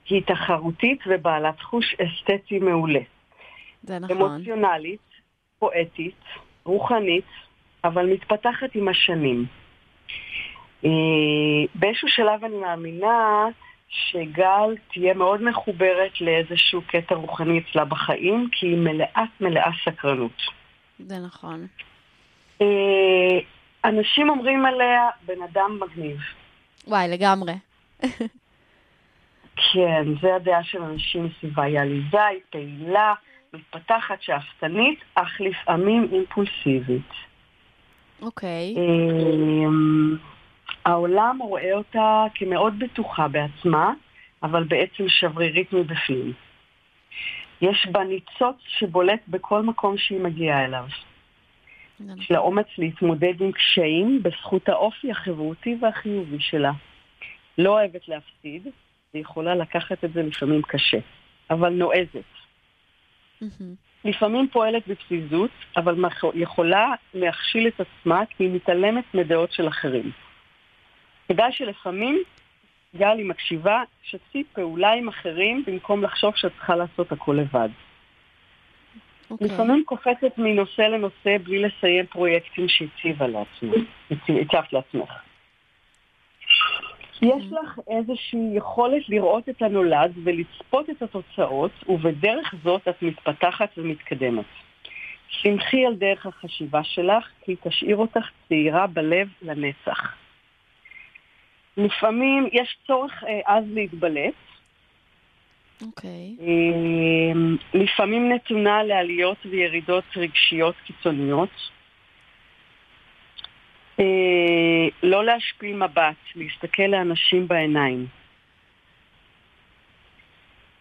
F: היא תחרותית ובעלת חוש אסתטי מעולה.
D: זה נכון.
F: אמוציונלית, פואטית, רוחנית, אבל מתפתחת עם השנים. אה, באיזשהו שלב אני מאמינה שגל תהיה מאוד מחוברת לאיזשהו קטע רוחני אצלה בחיים, כי היא מלאת מלאה סקרנות.
D: זה נכון.
F: אה, אנשים אומרים עליה, בן אדם מגניב.
D: וואי, לגמרי.
F: כן, זה הדעה של אנשים מסביבה. היא עליזה, היא פעילה, מתפתחת, שאפתנית, אך לפעמים אימפולסיבית.
D: אוקיי.
F: אה, אמ, העולם רואה אותה כמאוד בטוחה בעצמה, אבל בעצם שברירית מבפנים. יש בה ניצוץ שבולט בכל מקום שהיא מגיעה אליו.
D: זה נכון.
F: יש לה אומץ להתמודד עם קשיים בזכות האופי החברותי והחיובי שלה. לא אוהבת להפסיד, ויכולה לקחת את זה לפעמים קשה, אבל נועזת.
D: מהמם.
F: לפעמים פועלת בפזיזות, אבל מח- יכולה להכשיל את עצמה כי היא מתעלמת מדעות של אחרים. כדאי שלפעמים גל היא מקשיבה, שתפי פעולה עם אחרים במקום לחשוב שאת צריכה לעשות הכל לבד.
D: אוקיי.
F: לפעמים קופצת מנושא לנושא בלי לסיים פרויקטים שהציבה לעצמה, הצ- הצבת לעצמך. יש לך איזושהי יכולת לראות את הנולד ולצפות את התוצאות, ובדרך זאת את מתפתחת ומתקדמת. שמחי על דרך החשיבה שלך, כי היא תשאיר אותך צעירה בלב לנצח. לפעמים יש צורך אה, אז להתבלט,
D: אוקיי.
F: אמ, לפעמים נתונה לעליות וירידות רגשיות קיצוניות. אה, לא להשפיל מבט, להסתכל לאנשים בעיניים.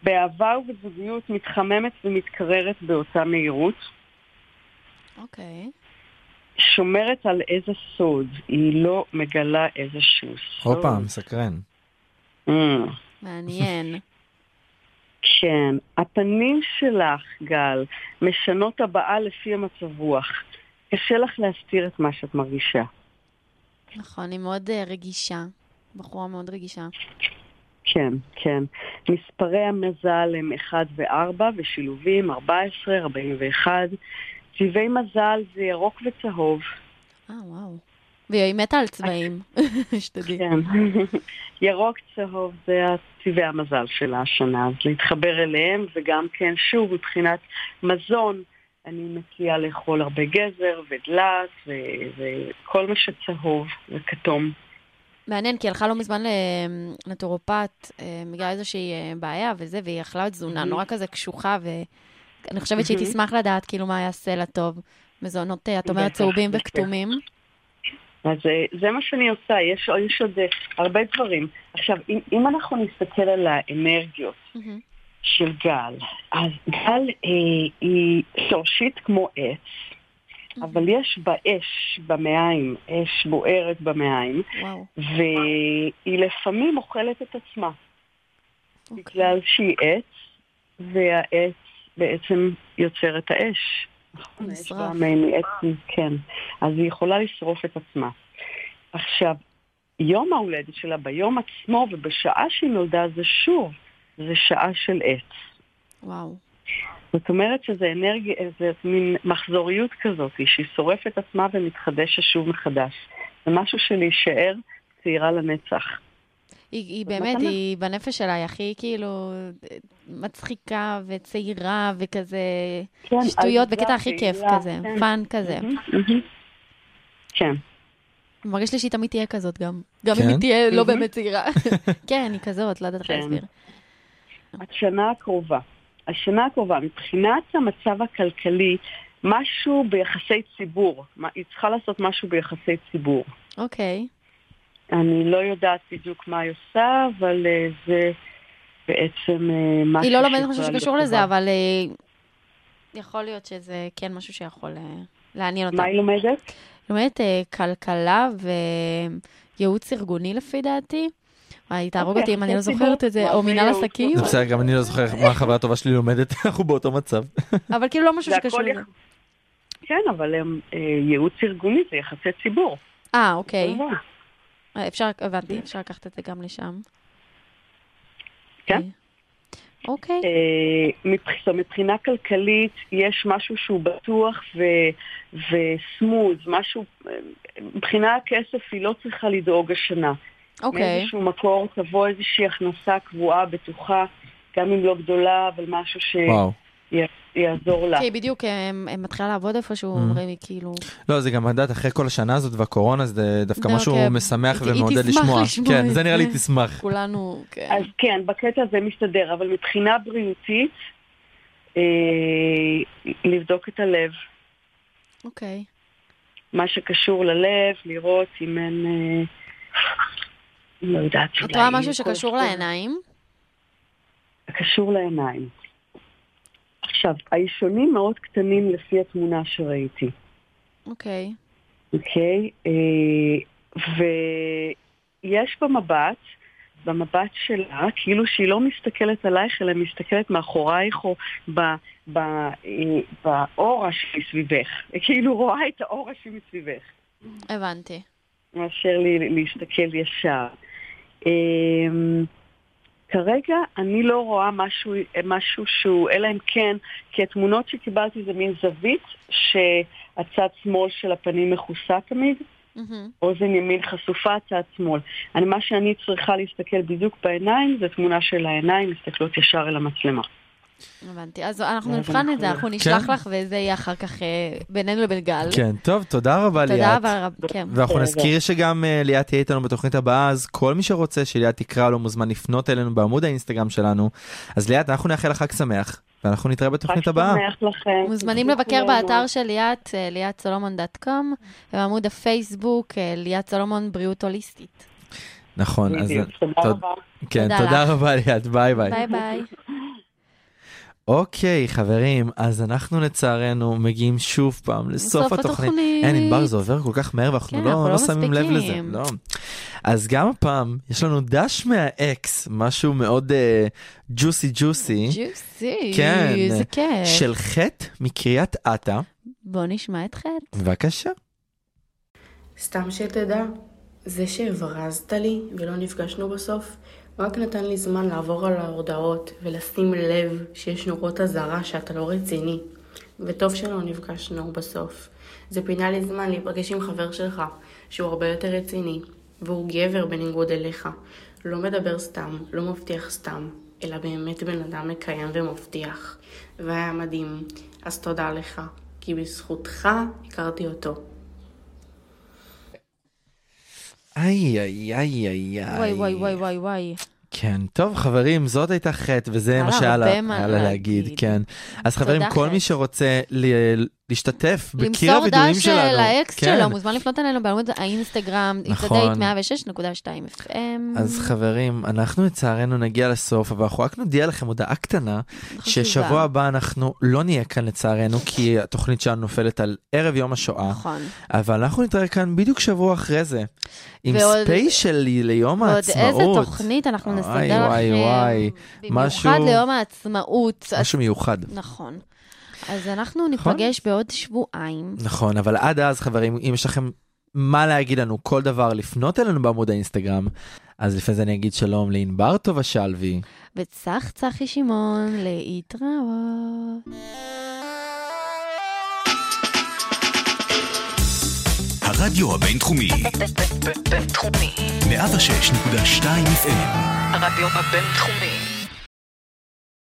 F: באהבה ובזוגיות מתחממת ומתקררת באותה מהירות.
D: אוקיי.
F: שומרת על איזה סוד, היא לא מגלה איזשהו סוד. אה.
C: הופה, מסקרן.
F: אמ,
D: מעניין.
F: כן, הפנים שלך, גל, משנות הבעה לפי המצב רוח. קשה לך להסתיר את מה שאת מרגישה.
D: נכון, היא מאוד אה, רגישה. בחורה מאוד רגישה.
F: כן, כן. מספרי המזל הם 1 ו-4 ושילובים 14, 41. צבעי מזל זה ירוק וצהוב.
D: אה, וואו. והיא מתה על צבעים, שתדעי.
F: כן. ירוק צהוב זה צבעי המזל של השנה, אז להתחבר אליהם, וגם כן, שוב, מבחינת מזון, אני מציעה לאכול הרבה גזר ודלעת ו- וכל מה שצהוב וכתום.
D: מעניין, כי היא הלכה לא מזמן לנטורופט אה, בגלל איזושהי אה, בעיה וזה, והיא אכלה תזונה
F: Mhm.
D: נורא כזה קשוחה, ואני חושבת שהיא
F: Mhm.
D: תשמח לדעת כאילו מה היה סלע טוב. מזונות, אה, את אומרת,
F: בטח,
D: צהובים
F: בטח.
D: וכתומים.
F: אז אה, זה מה שאני עושה, יש, יש עוד אה, הרבה דברים. עכשיו, אם, אם אנחנו נסתכל על האנרגיות
D: מהמם.
F: של גל, אז גל אה, היא שורשית כמו עץ, אבל יש בה אש במעיים, אש בוערת במעיים,
D: וואו.
F: והיא לפעמים אוכלת את עצמה,
D: אוקיי.
F: בגלל שהיא עץ, והעץ בעצם יוצר את האש. נכון, האש
D: נשרף.
F: באה מ- מעץ, כן. אז היא יכולה לשרוף את עצמה. עכשיו, יום ההולדת שלה, ביום עצמו ובשעה שהיא נולדה, זה שוב, זה שעה של עץ.
D: וואו.
F: זאת אומרת שזה אנרגיה, איזה מין מחזוריות כזאת, שהיא שורפת עצמה ומתחדשת שוב מחדש. זה משהו של להישאר צעירה לנצח.
D: היא, היא
F: זאת
D: באמת,
F: מתנה.
D: היא בנפש שלה, היא הכי כאילו אה, מצחיקה וצעירה וכזה
F: כן,
D: שטויות
F: עליזה,
D: בקטע הכי כיף
F: פעילה,
D: כזה,
F: כן.
D: פאן כזה.
F: מהמם, מהמם. כן,
D: מרגיש לי שהיא תמיד תהיה כזאת גם. גם אם
C: כן?
D: היא תהיה לא
F: Mhm.
D: באמת צעירה. כן, היא כזאת, לא יודעת איך
F: כן.
D: להסביר.
F: השנה הקרובה. השנה הקרובה, מבחינת המצב הכלכלי, משהו ביחסי ציבור. מה- היא צריכה לעשות משהו ביחסי ציבור.
D: אוקיי.
F: אני לא יודעת בדיוק מה היא עושה, אבל אה, זה בעצם אה, משהו...
D: היא לא לומדת
F: שהיא
D: משהו
F: יכולה
D: שקשור
F: להיות
D: לזה,
F: טובה.
D: אבל אה, יכול להיות שזה כן משהו שיכול אה, לעניין אותה.
F: מה היא לומדת?
D: היא לומדת אה, כלכלה וייעוץ ארגוני לפי דעתי. וואי, תהרוג
F: אוקיי,
D: אותי אם אני לא
F: יחסי
D: זוכרת את זה,
F: ציבור.
D: או
F: מה זה
D: מינהל
F: ייעוץ?
D: עסקים,
C: זה בסדר, גם אני לא זוכר מה החברה הטובה שלי לומדת, אנחנו באותו מצב.
D: אבל כאילו לא משהו
F: זה הכל
D: שקשור לזה.
F: יח- כן, אבל הם, אה, ייעוץ ארגוני זה יחסי ציבור.
D: אה, אוקיי.
F: כמובן.
D: אה, אפשר, הבנתי, אפשר לקחת את זה גם לשם.
F: כן.
D: אה, אוקיי.
F: אה, מבח- מבחינה כלכלית יש משהו שהוא בטוח ו- וסמוז, משהו, אה, מבחינה הכסף היא לא צריכה לדאוג השנה.
D: אוקיי.
F: מאיזשהו מקור תבוא איזושהי הכנסה קבועה, בטוחה, גם אם לא גדולה, אבל משהו
D: כן.
C: וואו.
F: שיעזור לה.
D: כי היא בדיוק אה, אה, מתחילה לעבוד איפשהו,
C: Mhm.
D: אומרים לי כאילו...
C: לא, זה גם הדעת, אחרי כל השנה הזאת והקורונה, זה דווקא
D: זה
C: משהו
D: אוקיי.
C: משמח
D: היא- היא
C: ומעודד
D: תשמח
C: לשמוע.
D: לשמוע
C: כן,
D: את
C: זה נראה לי
D: זה.
C: תשמח.
D: כולנו, כן.
F: אז כן, בקטע הזה מסתדר, אבל מבחינה בריאותית, אה, לבדוק את הלב,
D: אוקיי.
F: מה שקשור ללב, לראות אם אין... אה, לא יודעת.
D: את
F: אולי
D: רואה משהו
F: כל
D: שקשור
F: הכל
D: לעיניים?
F: קשור לעיניים. עכשיו, האישונים מאוד קטנים לפי התמונה שראיתי,
D: אוקיי.
F: אוקיי? אה, ויש במבט, במבט שלה, כאילו שהיא לא מסתכלת עלייך, אלא מסתכלת מאחורייך או ב, ב, אה, באור שמסביבך. היא כאילו רואה את האור שמסביבך.
D: הבנתי.
F: מאשר לי להסתכל ישר. אמ, כרגע אני לא רואה משהו, משהו שהוא, אלא אם כן, כי התמונות שקיבלתי זה מין זווית שהצד שמאל של הפנים מכוסה תמיד,
D: מהמם.
F: אוזן ימין חשופה, צד שמאל. אני, מה שאני צריכה להסתכל בדיוק בעיניים זה תמונה של העיניים, מסתכלות ישר אל המצלמה.
D: הבנתי. אז אנחנו
F: אז
D: נבחן את זה,
F: אנחנו-
D: אנחנו נשלח
C: כן.
D: לך, וזה יהיה אחר כך אה, בינינו לבין גל.
C: כן, טוב, תודה רבה ליאת.
D: תודה רבה. רב- כן.
C: ואנחנו
F: בסדר.
C: נזכיר שגם אה, ליאת תהיה איתנו בתוכנית הבאה, אז כל מי שרוצה שליאת תקרא לו מוזמן לפנות אלינו בעמוד האינסטגרם שלנו. אז ליאת, אנחנו נאחל לך חג שמח, ואנחנו נתראה בתוכנית הבאה.
F: חג שמח לכם.
D: מוזמנים
F: תודה
D: לבקר
F: לכולם.
D: באתר של ליאת, אה, ליאtsolomon.com, ובעמוד הפייסבוק, אה, ליאת סולומון בריאות הוליסטית.
C: נכון, אז
F: בדיוק, תודה
C: תודה.
F: רבה.
C: כן,
D: תודה
C: תודה
D: לך.
C: רבה ליאת, ביי ביי.
D: ביי ביי.
C: אוקיי, חברים, אז אנחנו לצערנו מגיעים שוב פעם לסוף
D: בסוף
C: התוכנית.
D: התוכנית.
C: אין, ענבר, זה עובר כל כך מהר ואנחנו
D: כן,
C: לא
D: אנחנו לא
C: לא שמים לב לזה.
D: מספיקים.
C: לא. אז גם הפעם יש לנו דש מהאקס, משהו מאוד אה, ג'וסי ג'וסי,
D: ג'וסי,
C: כן.
D: זה כיף.
C: של חטא מקריית אתא.
D: בוא נשמע את חטא.
C: בבקשה.
G: סתם שתדע, זה שהברזת לי ולא נפגשנו בסוף, רק נתן לי זמן לעבור על ההודעות ולשים לב שיש נורות אזהרה שאתה לא רציני. וטוב שלא נפגשנו בסוף. זה פינה לי זמן להיפגש עם חבר שלך, שהוא הרבה יותר רציני, והוא גבר בניגוד אליך. לא מדבר סתם, לא מבטיח סתם, אלא באמת בן אדם מקיים ומבטיח. והיה מדהים, אז תודה לך, כי בזכותך הכרתי אותו.
C: איי איי איי איי איי.
D: וואי וואי וואי וואי וואי.
C: כן, טוב חברים, זאת הייתה חטא, וזה
D: היה
C: מה
D: לה
C: שהיה
D: הרבה
C: לה
D: מה
C: היה לה
D: להגיד.
C: להגיד, כן. אז חברים, כל
D: חטא.
C: מי שרוצה ל- להשתתף בקיר
D: למסור
C: הווידויים
D: דש אה,
C: שלנו,
D: לאקס
C: כן.
D: שלו, מוזמן לפנות אלינו בעמוד האינסטגרם, it's a
C: נכון.
D: date 106.2 FM.
C: אז חברים, אנחנו לצערנו נגיע לסוף, אבל אנחנו רק נודיע לכם הודעה קטנה,
D: חשובה.
C: ששבוע הבא אנחנו לא נהיה כאן לצערנו, כי התוכנית שלנו נופלת על ערב יום השואה,
D: נכון.
C: אבל אנחנו נתראה כאן בדיוק שבוע אחרי זה, עם
D: ועוד-
C: ספיישל ליום
D: ועוד
C: העצמאות.
D: איזה תוכנית אנחנו נסדר
C: וואי,
D: לכם.
C: וואי, וואי. משהו-
D: במיוחד ליום העצמאות. אז-
C: משהו מיוחד.
D: נכון. אז אנחנו
C: נכון.
D: ניפגש בעוד שבועיים.
C: נכון, אבל עד אז חברים, אם יש לכם מה להגיד לנו, כל דבר, לפנות אלינו בעמוד האינסטגרם, אז לפני זה אני אגיד שלום לענבר טובה שלוי.
D: וצח צחי שמעון, להתראות.
A: הרדיו הבינתחומי,
B: בינתחומי,
A: 106.2 FM.
B: הרדיו הבינתחומי.